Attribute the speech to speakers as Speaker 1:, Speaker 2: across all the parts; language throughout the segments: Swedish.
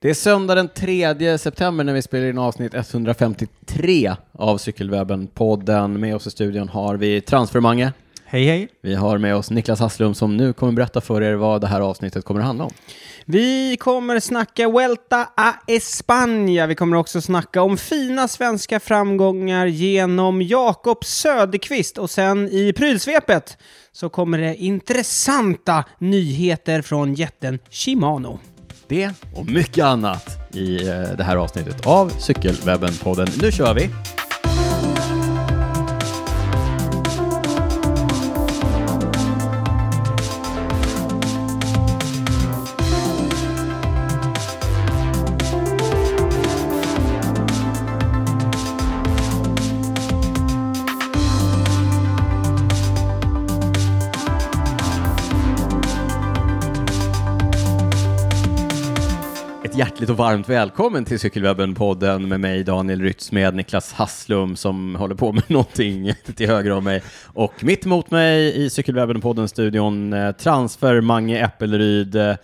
Speaker 1: Det är söndag den 3 september när vi spelar in avsnitt 153 av Cykelwebben-podden. Med oss i studion har vi Transfermange.
Speaker 2: Hej hej!
Speaker 1: Vi har med oss Niklas Hasslum som nu kommer berätta för er vad det här avsnittet kommer att handla om.
Speaker 2: Vi kommer snacka Vuelta a España. Vi kommer också snacka om fina svenska framgångar genom Jakob Söderqvist och sen i prylsvepet så kommer det intressanta nyheter från jätten Shimano.
Speaker 1: Det och mycket annat i eh, det här avsnittet av Cykelwebben-podden. Nu kör vi! Ett hjärtligt och varmt välkommen till Cykelwebben-podden med mig Daniel Ryttsmed, Niklas Hasslum som håller på med någonting till höger om mig och mitt emot mig i Cykelwebben-podden-studion eh, transfer Mange Äppelryd eh,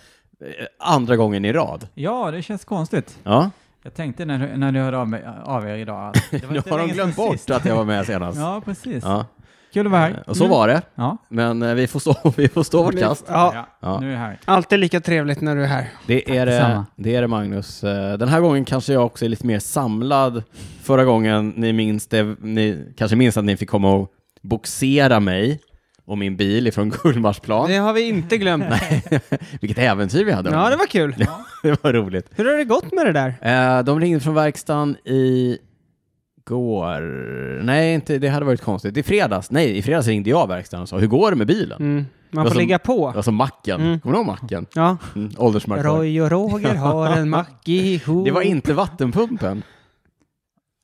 Speaker 1: andra gången i rad.
Speaker 3: Ja, det känns konstigt.
Speaker 1: Ja,
Speaker 3: Jag tänkte när, när du hörde av, mig, av er idag att det var
Speaker 1: nu
Speaker 3: inte
Speaker 1: har de
Speaker 3: länge sedan
Speaker 1: glömt bort
Speaker 3: sist.
Speaker 1: att jag var med senast.
Speaker 3: Ja, precis.
Speaker 1: Ja. Eh,
Speaker 3: Kul att vara här.
Speaker 1: Och så
Speaker 3: Mm.
Speaker 1: var det,
Speaker 3: Ja.
Speaker 1: men eh, vi får stå, vi får stå vårt kast.
Speaker 2: Ja,
Speaker 1: Ja.
Speaker 3: nu är jag här.
Speaker 2: alltid lika trevligt när du är här.
Speaker 1: Det är det,
Speaker 3: detsamma.
Speaker 1: det är det Magnus. Eh, Den här gången kanske jag också är lite mer samlad. Förra gången, ni, minns det, ni kanske minns att ni fick komma och boxera mig och min bil ifrån Gullmarsplan.
Speaker 2: Det har vi inte glömt.
Speaker 1: Vilket äventyr vi hade.
Speaker 2: Ja, det var kul.
Speaker 1: det var roligt.
Speaker 2: Hur har det gått med det där?
Speaker 1: Eh, De ringde från verkstaden i går. Nej, inte, det hade varit konstigt. I fredags, nej, i fredags ringde jag verkstaden och sa hur går det med bilen?
Speaker 2: Mm, man
Speaker 1: Det var
Speaker 2: får
Speaker 1: som-
Speaker 2: ligga på.
Speaker 1: Alltså macken,
Speaker 2: Mm.
Speaker 1: kommer du ihåg macken?
Speaker 2: Ja.
Speaker 1: Mm, åldersmarkör.
Speaker 2: Roy och Roger har en mack ihop.
Speaker 1: Det var inte vattenpumpen.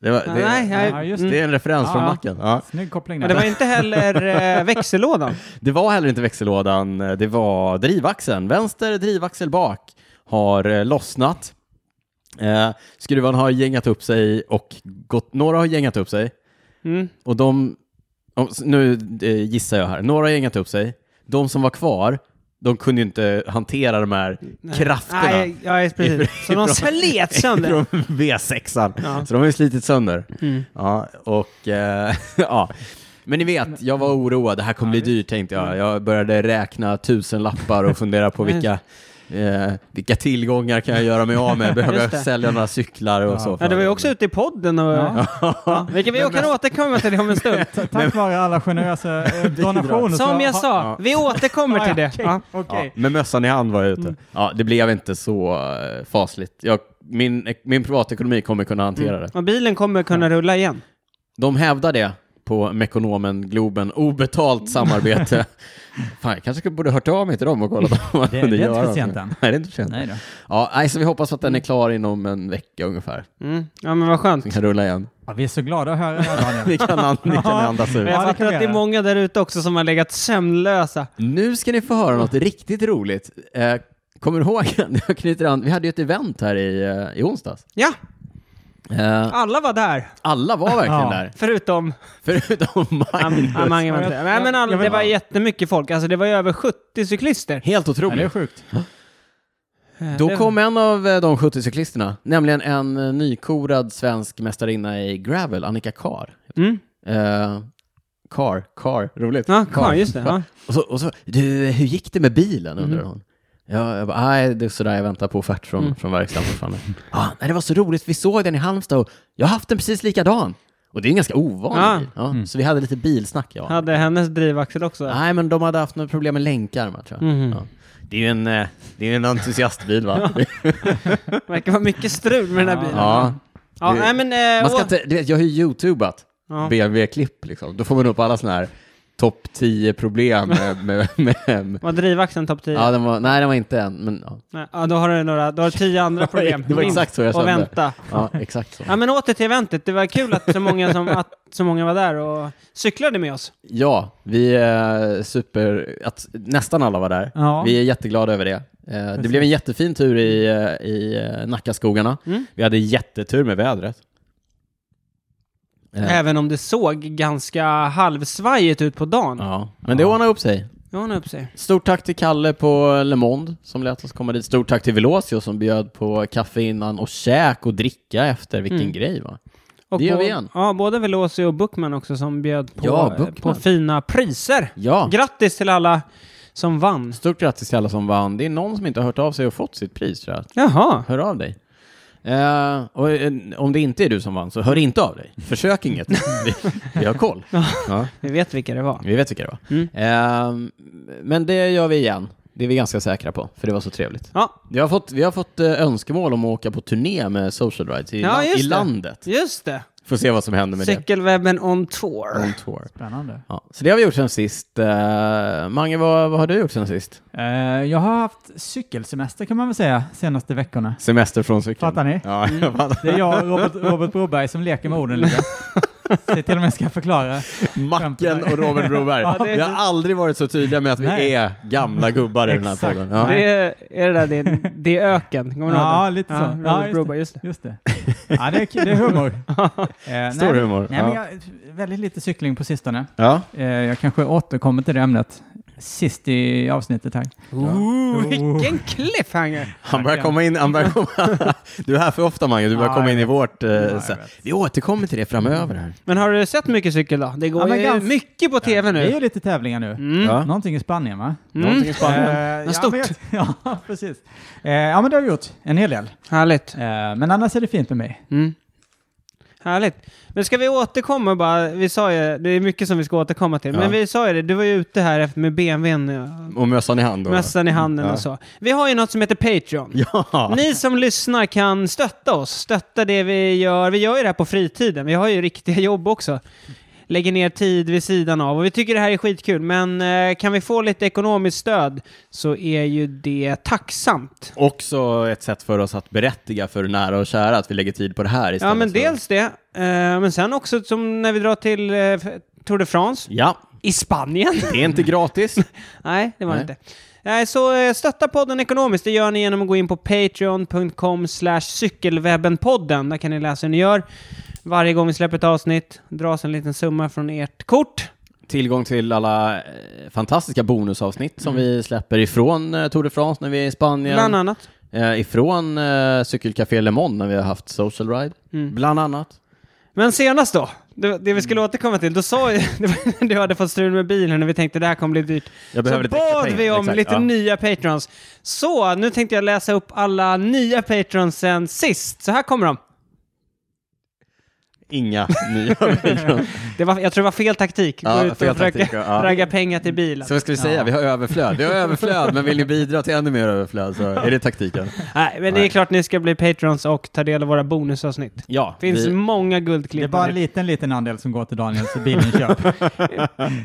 Speaker 1: Det var, det,
Speaker 2: Nej, jag-
Speaker 3: Ja, just
Speaker 1: det är en referens
Speaker 3: Ja,
Speaker 1: från
Speaker 3: ja.
Speaker 1: macken. Ja.
Speaker 3: Snygg koppling där.
Speaker 2: Men det var inte heller eh, växellådan.
Speaker 1: Det var heller inte växellådan, det var drivaxeln. Vänster drivaxel bak har eh, lossnat. Eh, skruvan har gängat upp sig och gått, några har gängat upp sig
Speaker 2: Mm.
Speaker 1: och de, om- s- nu eh, gissar jag här, några har gängat upp sig. De som var kvar, de kunde ju inte hantera de här krafterna.
Speaker 2: Nej, ja, just precis. Så de slet sönder.
Speaker 1: från V6an.
Speaker 2: Ja.
Speaker 1: Så de har ju slitit sönder.
Speaker 2: Mm.
Speaker 1: Ja, och, eh, ja. Men ni vet, jag var oroad. Det här kommer bli dyrt tänkte
Speaker 2: Mm.
Speaker 1: jag. Jag började räkna tusen lappar och fundera på vilka, eh, vilka tillgångar kan jag göra mig av med? Behöver
Speaker 2: Just
Speaker 1: jag
Speaker 2: det.
Speaker 1: sälja några cyklar och så?
Speaker 2: Ja, det var ju också ute i podden och... Ja.
Speaker 3: Ja.
Speaker 2: vilket vi kan återkomma till det om en stund.
Speaker 3: Tack vare alla generösa eh, donationer. så
Speaker 2: Som jag
Speaker 3: har-
Speaker 2: sa, vi återkommer till det. Ja.
Speaker 1: Ja, med mössan i hand var jag ute.
Speaker 2: Mm.
Speaker 1: Ja, det blev inte så eh, fasligt. Jag, min, min privatekonomi kommer kunna hantera det.
Speaker 2: Och bilen kommer kunna rulla igen.
Speaker 1: De hävdar det på Mekonomen Globen, obetalt samarbete. Fan, jag kanske borde hört av mig till dem och kollat om man
Speaker 3: Det-
Speaker 1: kunde
Speaker 3: det är inte
Speaker 1: göra
Speaker 3: för sent
Speaker 1: någonting.
Speaker 3: än.
Speaker 1: Nej, det är inte för sent.
Speaker 3: Nej då.
Speaker 1: Ja, nej, så vi hoppas att den är klar inom en vecka ungefär.
Speaker 2: Mm. Ja, men vad skönt.
Speaker 1: Den kan rulla igen.
Speaker 3: Ja, vi är så glada att höra det här Daniel.
Speaker 1: Ni kan, an- ni kan andas ut.
Speaker 2: Men jag
Speaker 3: Ja, det
Speaker 2: fattar
Speaker 3: kan vi
Speaker 2: att det är
Speaker 3: göra.
Speaker 2: många där ute också som har legat sömnlösa.
Speaker 1: Nu ska ni få höra något riktigt roligt. Eh, kommer du ihåg, jag knyter an, vi hade ju ett event här i, eh, i onsdags.
Speaker 2: Ja,
Speaker 1: Eh,
Speaker 2: alla var där.
Speaker 1: alla var verkligen
Speaker 3: Ja.
Speaker 1: där,
Speaker 2: Förutom...
Speaker 1: förutom Magnus.
Speaker 2: Ja, många var
Speaker 3: Ja,
Speaker 2: inte
Speaker 3: jag-
Speaker 2: där. Nej, men
Speaker 3: jag-
Speaker 2: all,
Speaker 3: jag
Speaker 2: det
Speaker 3: vet-
Speaker 2: var jättemycket folk. Alltså det var ju över 70 cyklister.
Speaker 1: Helt
Speaker 3: Ja, det är
Speaker 1: otroligt.
Speaker 3: sjukt.
Speaker 1: Då kom en av eh, de 70 cyklisterna, nämligen en eh, nykorad svensk mästarinna i gravel, Annika Kar.
Speaker 2: Mm.
Speaker 1: Eh, Kar, Kar, roligt.
Speaker 2: Ja, kvar, just det. Ja.
Speaker 1: Och, så, och så, du, hur gick det med bilen,
Speaker 2: Mm.
Speaker 1: undrade hon. Ja, jag bara, nej, det är sådär jag väntar på offert från, från verkstaden fortfarande. Ja, nej, det var så roligt, vi såg den i Halmstad och jag har haft den precis likadan. Och det är en ganska ovanlig
Speaker 2: Ja.
Speaker 1: bil. Ja, Så vi hade lite bilsnack, ja.
Speaker 2: Hade hennes drivaxel också.
Speaker 1: Nej, men de hade haft några problem med länkarmar, tror jag.
Speaker 2: Mhm.
Speaker 1: Ja. Det är ju en, eh, det är ju en entusiastbil, va?
Speaker 2: Verkar vara mycket strul med den här bilen.
Speaker 1: ja.
Speaker 2: Ja,
Speaker 1: Det-
Speaker 2: nej men... eh,
Speaker 1: Man ska
Speaker 2: å-
Speaker 1: inte, du vet, jag har ju youtubat
Speaker 2: Ja.
Speaker 1: BMW-klipp liksom. Då får man upp alla sådana här topp 10 problem med, med, med, med.
Speaker 2: Var drivaxeln topp 10?
Speaker 1: Ja, den var, nej, den var inte en, men ja.
Speaker 2: Nej, ja, då har du några, då har du tio andra problem.
Speaker 1: Det var exakt så jag
Speaker 2: Och
Speaker 1: kände.
Speaker 2: vänta.
Speaker 1: ja exakt så.
Speaker 2: Ja men åter till eventet, det var kul att så många, som, att så många var där och cyklade med oss.
Speaker 1: Ja, vi är super, att nästan alla var där.
Speaker 3: Ja.
Speaker 1: Vi är jätteglada över det. Eh, Det blev en jättefin tur i, eh, i eh, Nackaskogarna.
Speaker 2: Mm.
Speaker 1: Vi hade jättetur med vädret. Eh,
Speaker 2: Eh. Även om det såg ganska halvsvajigt ut på dagen.
Speaker 1: Ja, men det ordnade upp sig.
Speaker 2: Nu har han upp sig.
Speaker 1: Stort tack till Kalle på Le Monde som lät oss komma dit. Stort tack till Velocio som bjöd på kaffe innan och käk och dricka efter. Vilken
Speaker 2: Mm.
Speaker 1: grej va?
Speaker 2: Och
Speaker 1: Det gör
Speaker 2: bo-
Speaker 1: vi igen.
Speaker 2: Ja, både Velosi och Bookman också som bjöd på,
Speaker 1: Ja,
Speaker 2: eh,
Speaker 1: Bookman.
Speaker 2: på fina priser.
Speaker 1: Ja.
Speaker 2: Grattis till alla som vann.
Speaker 1: Stort grattis till alla som vann. Det är någon som inte har hört av sig och fått sitt pris tror jag.
Speaker 2: Jaha.
Speaker 1: Hör av dig. Eh, och eh, om det inte är du som vann så hör inte av dig. Försök inget. vi, vi har koll. Ja,
Speaker 2: Vi vet vilka det var.
Speaker 1: vi vet vilka det var. Eh, men det gör vi igen. Det är vi ganska säkra på, för det var så trevligt.
Speaker 2: Ja,
Speaker 1: Vi har fått, vi har fått eh, önskemål om att åka på turné med Social Rights i,
Speaker 2: Ja,
Speaker 1: lan- i
Speaker 2: just det.
Speaker 1: landet.
Speaker 2: just det.
Speaker 1: Får se vad som händer med
Speaker 2: Cykelwebben on tour.
Speaker 1: det. On tour.
Speaker 3: Spännande.
Speaker 1: Ja, så det har vi gjort sen sist. Eh, Mange, vad, vad har du gjort sen sist?
Speaker 3: Eh, jag har haft cykelsemester kan man väl säga, senaste veckorna.
Speaker 1: Semester från cykeln.
Speaker 3: Fattar ni?
Speaker 1: Ja, jag fattar.
Speaker 3: Det är jag och Robert, Robert Broberg som leker med orden lite. Se till om jag ska förklara.
Speaker 1: Macken och Robert Broberg.
Speaker 3: Ja, det är
Speaker 1: Vi har
Speaker 3: så-
Speaker 1: aldrig varit så tydliga med att vi
Speaker 3: Nej.
Speaker 1: är gamla gubbar i den här
Speaker 3: Exakt.
Speaker 1: podden.
Speaker 2: Det är, är det där, det är, det är öken. Kommer du ihåg
Speaker 3: Ja,
Speaker 2: den?
Speaker 3: lite så.
Speaker 2: Ja, Robert
Speaker 3: Ja, just det.
Speaker 2: Broberg, just det.
Speaker 3: Just det. Ja, det är, det är humor. Eh,
Speaker 1: Stor
Speaker 3: nej,
Speaker 1: humor,
Speaker 3: Nej, men
Speaker 1: ja.
Speaker 3: jag, väldigt lite cykling på sistone.
Speaker 1: Ja.
Speaker 3: Eh, jag kanske återkommer till det ämnet sist i avsnittet här.
Speaker 1: Eh,
Speaker 2: Ooh, vilken cliffhanger!
Speaker 1: Han börjar komma in, han börjar komma, du är här för ofta Mange, du börjar
Speaker 3: Ja,
Speaker 1: komma
Speaker 3: jag
Speaker 1: in i vårt... eh,
Speaker 3: jag
Speaker 1: så här-
Speaker 3: vet.
Speaker 1: Vi återkommer till det framöver här.
Speaker 2: Men har du sett mycket cykel då? Det går
Speaker 3: Ja, men
Speaker 2: ju
Speaker 3: ganska-
Speaker 2: mycket på tv
Speaker 3: Det är
Speaker 2: nu. Mm.
Speaker 3: ju lite tävlingar nu.
Speaker 1: Ja.
Speaker 3: Någonting i Spanien va?
Speaker 1: Någonting Mm. i Spanien.
Speaker 3: Eh, ja,
Speaker 2: stort.
Speaker 3: men jag- Ja, precis. Eh, ja, men det har jag gjort. En hel del.
Speaker 2: Härligt.
Speaker 3: Eh, men annars är det fint med mig.
Speaker 2: Mm. Härligt. Men ska vi återkomma bara? Vi sa ju, det är mycket som vi ska återkomma till,
Speaker 1: Ja.
Speaker 2: men vi sa ju det, du var ju ute här efter- med BMWn, ja,
Speaker 1: Och mössan i hand då.
Speaker 2: mössan i handen
Speaker 1: Ja.
Speaker 2: och så. Vi har ju något som heter Patreon.
Speaker 1: Ja.
Speaker 2: Ni som lyssnar kan stötta oss, stötta det vi gör. Vi gör ju det här på fritiden, vi har ju riktiga jobb också. Lägger ner tid vid sidan av och vi tycker det här är skitkul, men eh, kan vi få lite ekonomiskt stöd så är ju det tacksamt.
Speaker 1: Också ett sätt för oss att berättiga för nära och kära att vi lägger tid på det här istället.
Speaker 2: Ja, men
Speaker 1: för-
Speaker 2: dels det, eh, men sen också som när vi drar till eh, Tour de France.
Speaker 1: Ja,
Speaker 2: I Spanien?
Speaker 1: det är inte gratis.
Speaker 2: Nej, det var det
Speaker 1: Nej.
Speaker 2: inte. Nej, så eh, stötta podden ekonomiskt. Det gör ni genom att gå in på patreon.com slash cykelwebbenpodden. Där kan ni läsa hur ni gör. Varje gång vi släpper ett avsnitt dras en liten summa från ert kort.
Speaker 1: Tillgång till alla eh, fantastiska bonusavsnitt som vi släpper ifrån eh, Tour de France när vi är i Spanien.
Speaker 2: Mm. Bland annat.
Speaker 1: Eh, ifrån eh, Cykelcafé Le Monde när vi har haft Social Ride,
Speaker 2: Mm.
Speaker 1: bland annat.
Speaker 2: Men senast då, det, det vi
Speaker 1: Mm.
Speaker 2: skulle återkomma till, då sa ju det var- du hade fått strul med bilen och vi tänkte det här kommer bli dyrt.
Speaker 1: Jag
Speaker 2: Så
Speaker 1: behöver lite extra
Speaker 2: bad
Speaker 1: pengar,
Speaker 2: vi om
Speaker 1: exakt,
Speaker 2: lite
Speaker 1: ja.
Speaker 2: nya patrons. Så, nu tänkte jag läsa upp alla nya patrons sen sist. Så här kommer de.
Speaker 1: Inga nya bilar.
Speaker 2: Det var, jag tror det var fel taktik.
Speaker 1: Ja,
Speaker 2: Gå ut och
Speaker 1: fel
Speaker 2: försöka
Speaker 1: taktik, ja.
Speaker 2: ragga pengar till bilen.
Speaker 1: Så vad ska vi säga? Vi har överflöd. Vi har överflöd, men vill ni bidra till ännu mer överflöd så är det taktiken.
Speaker 2: Nej, men det är klart ni ska bli patrons och ta del av våra bonusavsnitt.
Speaker 1: Ja,
Speaker 2: Finns
Speaker 1: vi,
Speaker 2: många
Speaker 3: Det är bara en
Speaker 2: guldklippar.
Speaker 3: liten, liten andel som går till Daniels bilinköp.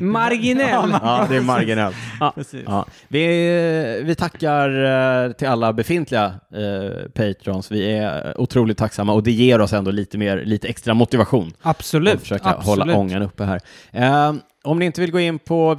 Speaker 2: Marginell.
Speaker 1: ja, det är marginellt.
Speaker 3: Precis.
Speaker 1: Ja. Vi, vi tackar eh, till alla befintliga eh, patrons. Vi är otroligt tacksamma och det ger oss ändå lite, mer, lite extra motivation
Speaker 2: Absolut.
Speaker 1: och försöka
Speaker 2: Absolut.
Speaker 1: hålla ångan uppe här. Eh, om ni inte vill gå in på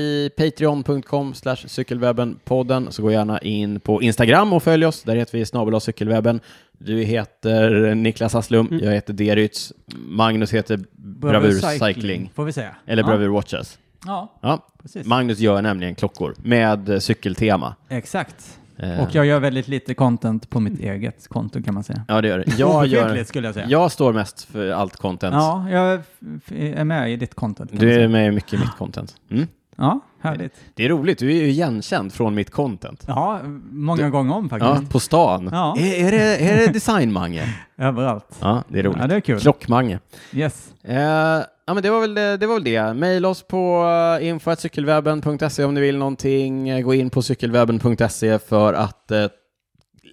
Speaker 1: www.patreon.com cykelwebbenpodden så gå gärna in på Instagram och följ oss. Där heter vi snabel cykelwebben. Du heter Niklas Hasslum, jag heter Derytz, Magnus heter Bravur Cycling,
Speaker 3: Får vi säga.
Speaker 1: eller
Speaker 3: ja.
Speaker 1: Bravur Watches.
Speaker 3: Ja,
Speaker 1: Ja.
Speaker 3: precis.
Speaker 1: Magnus gör nämligen klockor med eh, cykeltema.
Speaker 3: Exakt.
Speaker 1: Eh,
Speaker 3: Och jag gör väldigt lite content på mitt eget konto kan man säga.
Speaker 1: Ja, det gör det. Jag, gör,
Speaker 3: Obefintligt, skulle jag säga.
Speaker 1: jag står mest för allt content.
Speaker 3: Ja, jag f- f- är med i ditt content. kan man
Speaker 1: Du är
Speaker 3: säga.
Speaker 1: med mycket i mitt content. Mm.
Speaker 3: Ja, härligt.
Speaker 1: Det är roligt, du är ju igenkänd från mitt content.
Speaker 3: Ja, många gånger om
Speaker 1: Ja,
Speaker 3: faktiskt.
Speaker 1: på stan.
Speaker 3: Ja.
Speaker 1: Är, är det, är det designmange?
Speaker 3: Överallt.
Speaker 1: Ja, det är roligt.
Speaker 3: Ja, det är kul.
Speaker 1: Klockmange.
Speaker 3: Yes.
Speaker 1: Eh, ja, men det var väl det. det, var väl det. Maila oss på eh, info.cykelwebben.se om ni vill någonting. Eh, Gå in på cykelwebben.se för att eh,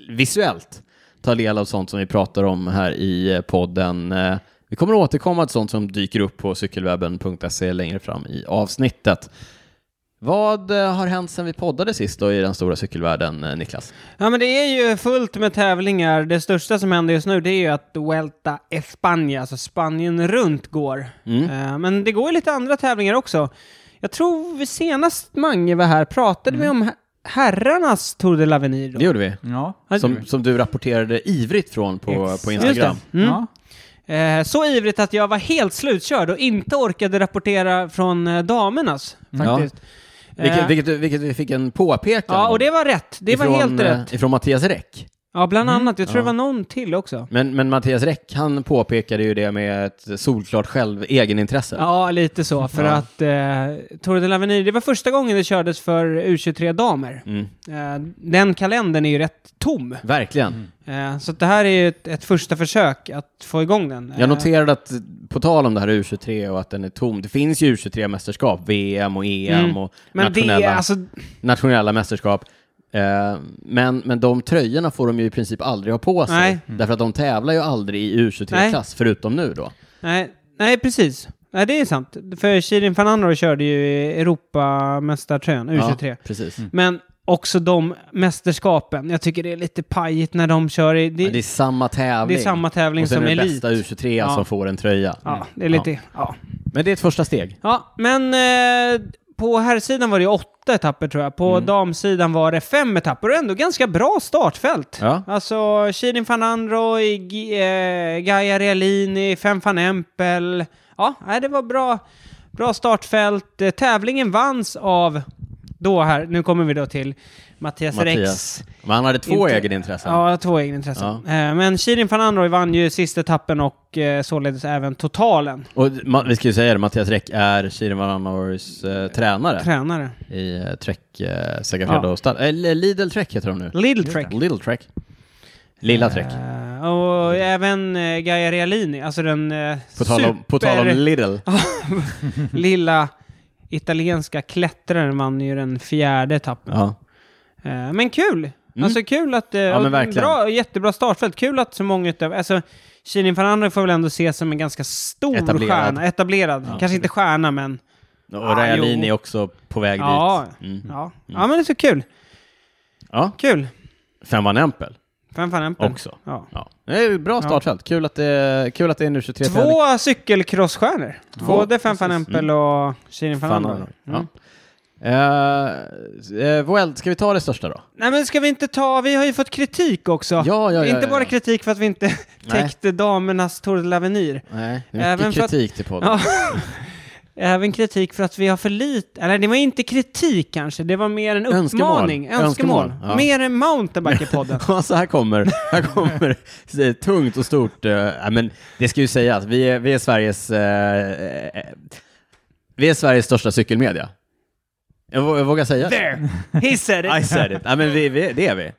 Speaker 1: visuellt ta del av sånt som vi pratar om här i eh, podden. Eh, vi kommer att återkomma till sånt som dyker upp på cykelwebben.se längre fram i avsnittet. Vad eh, har hänt sedan vi poddade sist då i den stora cykelvärlden, eh, Niklas?
Speaker 2: Ja, men det är ju fullt med tävlingar. Det största som händer just nu det är ju att Vuelta España, alltså Spanien runt, går.
Speaker 1: Mm.
Speaker 2: Eh, Men det går ju lite andra tävlingar också. Jag tror vi senast Mange var här pratade
Speaker 1: Mm.
Speaker 2: vi om her- herrarnas Tour de l'Avenir. då.
Speaker 1: Det gjorde vi.
Speaker 3: Ja.
Speaker 1: Som, som du rapporterade ivrigt från på, på
Speaker 3: Exakt.
Speaker 1: Instagram.
Speaker 2: Just det. Mm.
Speaker 3: Ja.
Speaker 2: Eh, så ivrigt
Speaker 1: Mm.
Speaker 2: att jag var helt slutkörd och inte orkade rapportera från eh, damernas. Faktiskt. Eh,
Speaker 1: Vilket, vilket, vilket vi fick en påpekan
Speaker 2: ja,
Speaker 1: om
Speaker 2: och det var rätt. Det
Speaker 1: ifrån,
Speaker 2: var helt
Speaker 1: eh,
Speaker 2: rätt.
Speaker 1: Ifrån Mattias Räck.
Speaker 2: Ja, bland annat. Jag tror
Speaker 1: ja.
Speaker 2: det var någon till också.
Speaker 1: Men, men Mattias Räck, han påpekade ju det med ett solklart själv egenintresse.
Speaker 2: Ja, lite så. För
Speaker 1: Ja.
Speaker 2: att eh, Tour de l'Avenir, det var första gången det kördes för U23-damer.
Speaker 1: Mm.
Speaker 2: Eh, den kalendern är ju rätt tom.
Speaker 1: Verkligen.
Speaker 2: Eh, så att det här är ju ett, ett första försök att få igång den. Eh,
Speaker 1: Jag noterade att, på tal om det här U23 och att den är tom, det finns ju U23-mästerskap, VM och EM
Speaker 2: Mm.
Speaker 1: och
Speaker 2: men det
Speaker 1: nationella,
Speaker 2: är alltså...
Speaker 1: nationella mästerskap. Eh, men, men de tröjorna får de ju i princip aldrig ha på sig,
Speaker 2: Nej.
Speaker 1: därför att de tävlar ju aldrig i U23-klass, förutom nu då.
Speaker 2: Nej, nej precis. Nej, det är sant. För Shirin Fanandaro körde ju Europamästartröjan, U23.
Speaker 1: Ja, precis.
Speaker 2: Men också de mästerskapen. Jag tycker det är lite pajigt när de kör i... Det,
Speaker 1: Men det är samma tävling.
Speaker 2: det är samma tävling
Speaker 1: och sen
Speaker 2: som
Speaker 1: är det
Speaker 2: liksom elit.
Speaker 1: bästa U23
Speaker 2: Ja.
Speaker 1: som får en tröja.
Speaker 2: Ja, det är lite... Ja. ja.
Speaker 1: Men det är ett första steg.
Speaker 2: men eh, på herrsidan var det ju åtta etapper tror jag. På
Speaker 1: Mm.
Speaker 2: damsidan var det fem etapper och ändå ganska bra startfält.
Speaker 1: Ja.
Speaker 2: Alltså Shirin Fanandroy, G- eh, Gaia Realini, Fem van Empel. Ja, nej, det var bra, bra startfält. Eh, Tävlingen vanns av, då här, nu kommer vi då till Mattias, Rex.
Speaker 1: Mattias. Men han hade två
Speaker 2: Inte-
Speaker 1: egenintressen.
Speaker 2: Ja, två egenintressen. Eh, Men Shirin Fanandroy vann ju sista etappen och eh, således även totalen.
Speaker 1: Och ma- vi ska ju säga det, Mattias Räck är Shirin Varanors eh, tränare.
Speaker 2: Tränare.
Speaker 1: i eh, Trek, eh, Segafredo
Speaker 2: Ja.
Speaker 1: och Stad. Eller Lidl Trek heter de nu.
Speaker 2: Little Trek.
Speaker 1: Little Trek. Lilla Trek.
Speaker 2: Eh, och även eh, Gaia Realini, alltså den eh,
Speaker 1: På tal om, på tal om Lidl.
Speaker 2: lilla italienska klättraren vann ju den fjärde etappen.
Speaker 1: Ja. Mm.
Speaker 2: Eh, men kul! Alltså kul att... eh, och
Speaker 1: men verkligen.
Speaker 2: bra, jättebra startfält. Kul att så många utav... Alltså, Shirin Fernando får väl ändå ses som en ganska stor
Speaker 1: Etablerad.
Speaker 2: stjärna. Etablerad. Kanske inte stjärna, men...
Speaker 1: Och
Speaker 2: Ah,
Speaker 1: Rajalin
Speaker 2: jo.
Speaker 1: är också på väg
Speaker 2: Ja.
Speaker 1: dit. Mm.
Speaker 2: Ja. ja, men det är så kul.
Speaker 1: Ja,
Speaker 2: Kul!
Speaker 1: Fem Van Empel
Speaker 2: Fem fan Empel.
Speaker 1: också.
Speaker 2: Ja.
Speaker 1: Ja. Det är ju bra startfält. Kul att det, kul att det är nu 23
Speaker 2: Två cykelcrossstjärnor. Både Fem van
Speaker 1: precis. Mm.
Speaker 2: Empel och Shirin
Speaker 1: Fan,
Speaker 2: Fernando. Mm.
Speaker 1: ja. Eh, eh, Vuel- ska vi ta det största då?
Speaker 2: Nej men ska vi inte ta, vi har ju fått kritik också.
Speaker 1: ja, ja,
Speaker 2: inte
Speaker 1: ja,
Speaker 2: bara
Speaker 1: ja.
Speaker 2: kritik för att vi inte
Speaker 1: Nej.
Speaker 2: täckte damernas Tour de l'Avenir.
Speaker 1: Nej, det är
Speaker 2: Även
Speaker 1: mycket
Speaker 2: för att-
Speaker 1: kritik till podden.
Speaker 2: Ja. Även kritik för att vi har för lite, eller det var inte kritik kanske, det var mer en
Speaker 1: Önskemål.
Speaker 2: uppmaning, önskemål.
Speaker 1: Önskemål, ja.
Speaker 2: Mer en mountainbike i podden.
Speaker 1: Ja, så här kommer, här kommer eh, tungt och stort. eh, ja, men det ska ju sägas, vi är, vi är Sveriges... eh, eh, vi är Sveriges största cykelmedia. Jag, vå- jag vågar säga det.
Speaker 2: There! He said
Speaker 1: I
Speaker 2: it!
Speaker 1: said it. Ja, men vi, vi, det är vi.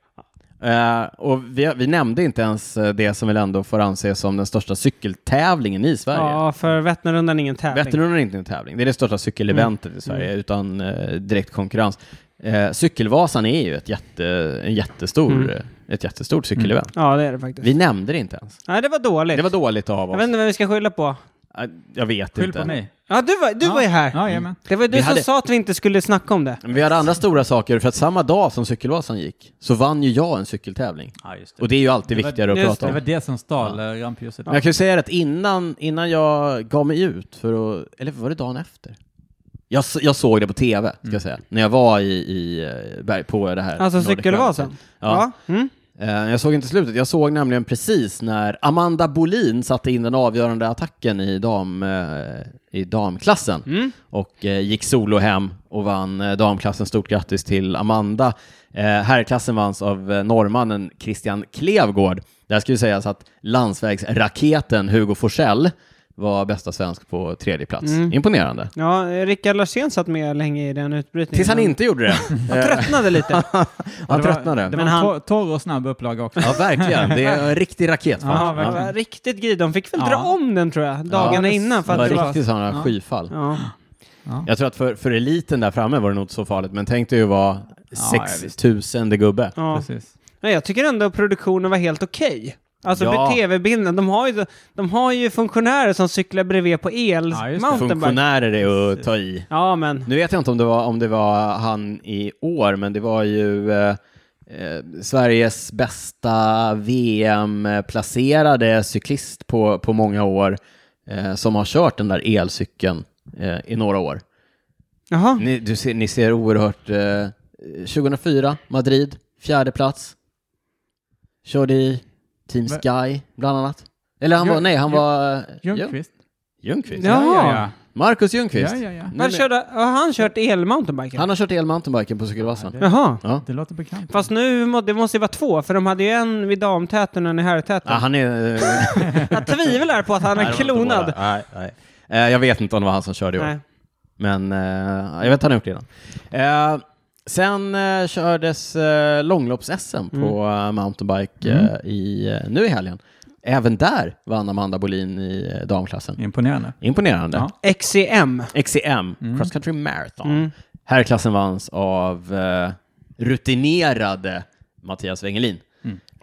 Speaker 1: Eh, och vi, har- vi nämnde inte ens eh, det som väl ändå får anses som den största cykeltävlingen i Sverige.
Speaker 2: Ja, för Vätternrundan är ingen tävling.
Speaker 1: Vätternrundan är inte en tävling, det är det största cykeleventet
Speaker 3: Mm.
Speaker 1: i Sverige utan eh, direkt konkurrens. Eh, Cykelvasan är ju ett, jätte, en jättestor,
Speaker 3: Mm.
Speaker 1: eh, ett jättestort cykelevent.
Speaker 2: Ja, det är det faktiskt.
Speaker 1: Vi nämnde det inte ens.
Speaker 2: Nej, det var dåligt.
Speaker 1: Det var dåligt av
Speaker 2: Jag
Speaker 1: oss.
Speaker 2: vet inte vem vi ska skylla på.
Speaker 1: Eh, Jag vet
Speaker 3: Skyll
Speaker 1: inte.
Speaker 3: på mig.
Speaker 2: Ja, du var, du
Speaker 3: Ja.
Speaker 2: var ju här.
Speaker 3: Ja,
Speaker 1: Mm.
Speaker 3: jajamän.
Speaker 2: Det var ju du
Speaker 1: Vi
Speaker 2: som
Speaker 1: hade-
Speaker 2: sa att vi inte skulle snacka om det.
Speaker 1: Men Vi hade andra stora saker, för att samma dag som Cykelvasan gick så vann ju jag en cykeltävling.
Speaker 3: Ja, just det.
Speaker 1: Och det är ju alltid
Speaker 3: Det var-
Speaker 1: viktigare att
Speaker 2: just
Speaker 1: prata
Speaker 3: Det
Speaker 1: om.
Speaker 3: var det som stal eh, ja. rampljuset.
Speaker 1: Men jag kan ju säga att innan, innan jag gav mig ut för att, eller var det dagen efter? Jag, s- jag såg det på tv, ska jag säga, när jag var i, i eh, berg- på det här.
Speaker 2: Alltså
Speaker 1: Nordic
Speaker 2: cykelvasan.
Speaker 1: Mountain. Ja.
Speaker 2: Mm.
Speaker 1: Eh, Jag såg inte slutet. Jag såg nämligen precis när Amanda Bolin satte in den avgörande attacken i, dam, eh, i damklassen
Speaker 3: Mm.
Speaker 1: och eh, gick solo hem och vann eh, damklassen. Stort grattis till Amanda. Eh, Herrklassen vanns av eh, norrmannen Christian Klevgård. Där ska ju sägas att landsvägsraketen Hugo Forsell var bästa svensk på tredje plats.
Speaker 3: Mm.
Speaker 1: Imponerande.
Speaker 2: Ja, Rickard Larsén satt med länge i den utbrytningen.
Speaker 1: Tills han inte gjorde det.
Speaker 2: Han tröttnade lite.
Speaker 1: Han
Speaker 3: det var,
Speaker 1: tröttnade.
Speaker 3: Det var
Speaker 2: Men
Speaker 3: en
Speaker 2: han-
Speaker 3: tor- torr och snabb upplaga också.
Speaker 1: Ja, verkligen. Det är en riktig raket. fan.
Speaker 3: Ja,
Speaker 2: Ja,
Speaker 3: verkligen.
Speaker 2: var riktigt grid. De fick väl
Speaker 3: Ja.
Speaker 2: dra om den tror jag, dagarna
Speaker 3: Ja,
Speaker 2: innan.
Speaker 1: Det
Speaker 2: För att
Speaker 1: var
Speaker 2: det var
Speaker 1: riktigt sådana skyfall.
Speaker 2: Ja.
Speaker 1: Jag tror att för, för eliten där framme var det nog inte så farligt, men tänk dig att vara
Speaker 3: Ja, ja,
Speaker 1: 6000 gubbe.
Speaker 2: Ja.
Speaker 3: Precis.
Speaker 2: Nej, jag tycker ändå att produktionen var helt okej. Alltså
Speaker 1: Ja.
Speaker 2: för tv-bilden, de har, ju, de har ju funktionärer som cyklar bredvid på el
Speaker 3: Ja, just det.
Speaker 2: mountainbike.
Speaker 1: Funktionärer är att ta i.
Speaker 2: Ja, men
Speaker 1: Nu vet jag inte om det var, om det var han i år, men det var ju eh, eh, Sveriges bästa VM-placerade cyklist på, på många år eh, som har kört den där elcykeln eh, i några år.
Speaker 2: jaha.
Speaker 1: Ni, du ser, ni ser oerhört... Eh, 2004, Madrid, fjärde plats. Körde i Team
Speaker 3: Men-
Speaker 1: Sky, bland annat. Eller han
Speaker 3: Jör-
Speaker 1: var, nej, han
Speaker 3: Jör-
Speaker 1: var... eh,
Speaker 3: Ljungqvist.
Speaker 1: Ljungqvist?
Speaker 2: Ja.
Speaker 3: ja,
Speaker 1: Marcus
Speaker 3: ja.
Speaker 1: Ljungqvist?
Speaker 3: ja, ja, ja.
Speaker 1: Nej,
Speaker 2: Han
Speaker 1: nej.
Speaker 2: körde, har han kört el-mountainbiken?
Speaker 1: Han har kört el-mountainbiken på cykelvassan.
Speaker 2: Jaha.
Speaker 1: Ja.
Speaker 3: Det låter bekant.
Speaker 2: Fast nu, må, det måste ju vara två, för de hade ju en vid damtäten och en i herrtäten.
Speaker 1: Ja, han är... eh, nej,
Speaker 2: Jag tvivlar på att han
Speaker 1: det var
Speaker 2: är
Speaker 1: inte båda.
Speaker 2: klonad.
Speaker 1: Nej, nej. Eh, Jag vet inte om det var han som körde i år.
Speaker 2: Nej.
Speaker 1: Men eh, jag vet att han har gjort det innan. Eh, sen eh, kördes eh, långlops-SM på eh, mountainbike eh, i, eh, nu i helgen. Även där vann Amanda Bolin i eh, damklassen.
Speaker 3: Imponerande.
Speaker 1: Imponerande.
Speaker 3: Ja.
Speaker 2: XCM.
Speaker 1: XCM, Cross Country Marathon. Herrklassen vanns av eh, rutinerade Mattias Wengelin.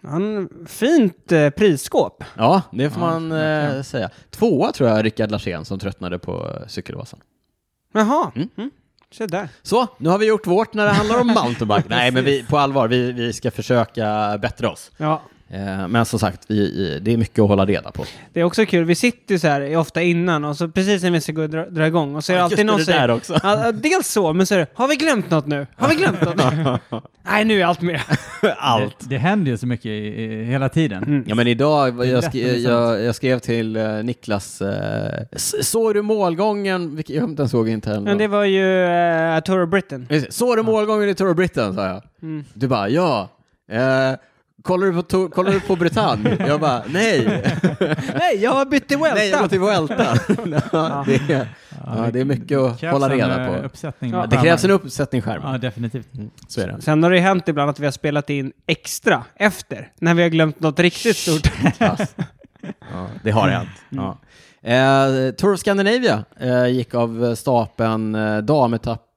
Speaker 2: Han, fint eh, prisskåp.
Speaker 1: Ja, det får man eh, säga. Tvåa tror jag Rickard Larsén som tröttnade på eh, cykelvasan.
Speaker 2: Jaha. Mm. Se där.
Speaker 1: Så, nu har vi gjort vårt när det handlar om mountainbike. Nej, men vi, på allvar, vi, vi ska försöka bättra oss.
Speaker 2: Ja.
Speaker 1: Eh, men som sagt, vi, i- det är mycket att hålla reda på.
Speaker 2: Det är också kul, vi sitter ju så här ofta innan och så precis när vi ska gå och dra, dra igång och så är det
Speaker 1: Ja, just
Speaker 2: alltid
Speaker 1: det,
Speaker 2: någon
Speaker 1: det
Speaker 2: som säger...
Speaker 1: där också.
Speaker 2: Ja, ja, dels så, men så är det, har vi glömt något nu? Har vi glömt något nu? Nej, nu är allt med.
Speaker 1: Allt.
Speaker 3: Det, det händer ju så mycket i, i, hela tiden.
Speaker 1: Ja, men idag, jag,
Speaker 3: Berätta
Speaker 1: skrev,
Speaker 3: om
Speaker 1: jag, jag skrev till eh, Niklas, eh, "S- såg du målgången? Vilket- Jag kommer inte ens ihåg inte heller.
Speaker 2: Men det var ju eh, Tour of Britain.
Speaker 1: Just det. Såg du målgången i Tour of Britain? sa jag. Du bara, ja. Eh, kollar, du på to- kollar du på Bretagne? jag bara, nej.
Speaker 2: Nej, jag har bytt till
Speaker 1: nej, jag går
Speaker 2: Welta.
Speaker 1: till Vuelta. ja, det, är- ja, det är mycket att
Speaker 3: Krävs
Speaker 1: hålla
Speaker 3: en,
Speaker 1: reda
Speaker 3: eh,
Speaker 1: på.
Speaker 3: Uppsättning
Speaker 2: Ja,
Speaker 3: med
Speaker 1: Det krävs en
Speaker 3: skärmar.
Speaker 1: uppsättning skärmar.
Speaker 3: Ja, definitivt.
Speaker 1: Så är det.
Speaker 2: Sen har det ju hänt ibland att vi har spelat in extra efter, när vi har glömt något riktigt stort.
Speaker 1: Pass. Ja, det har hänt. Ja. Eh, Tour of Scandinavia eh, gick av stapeln eh,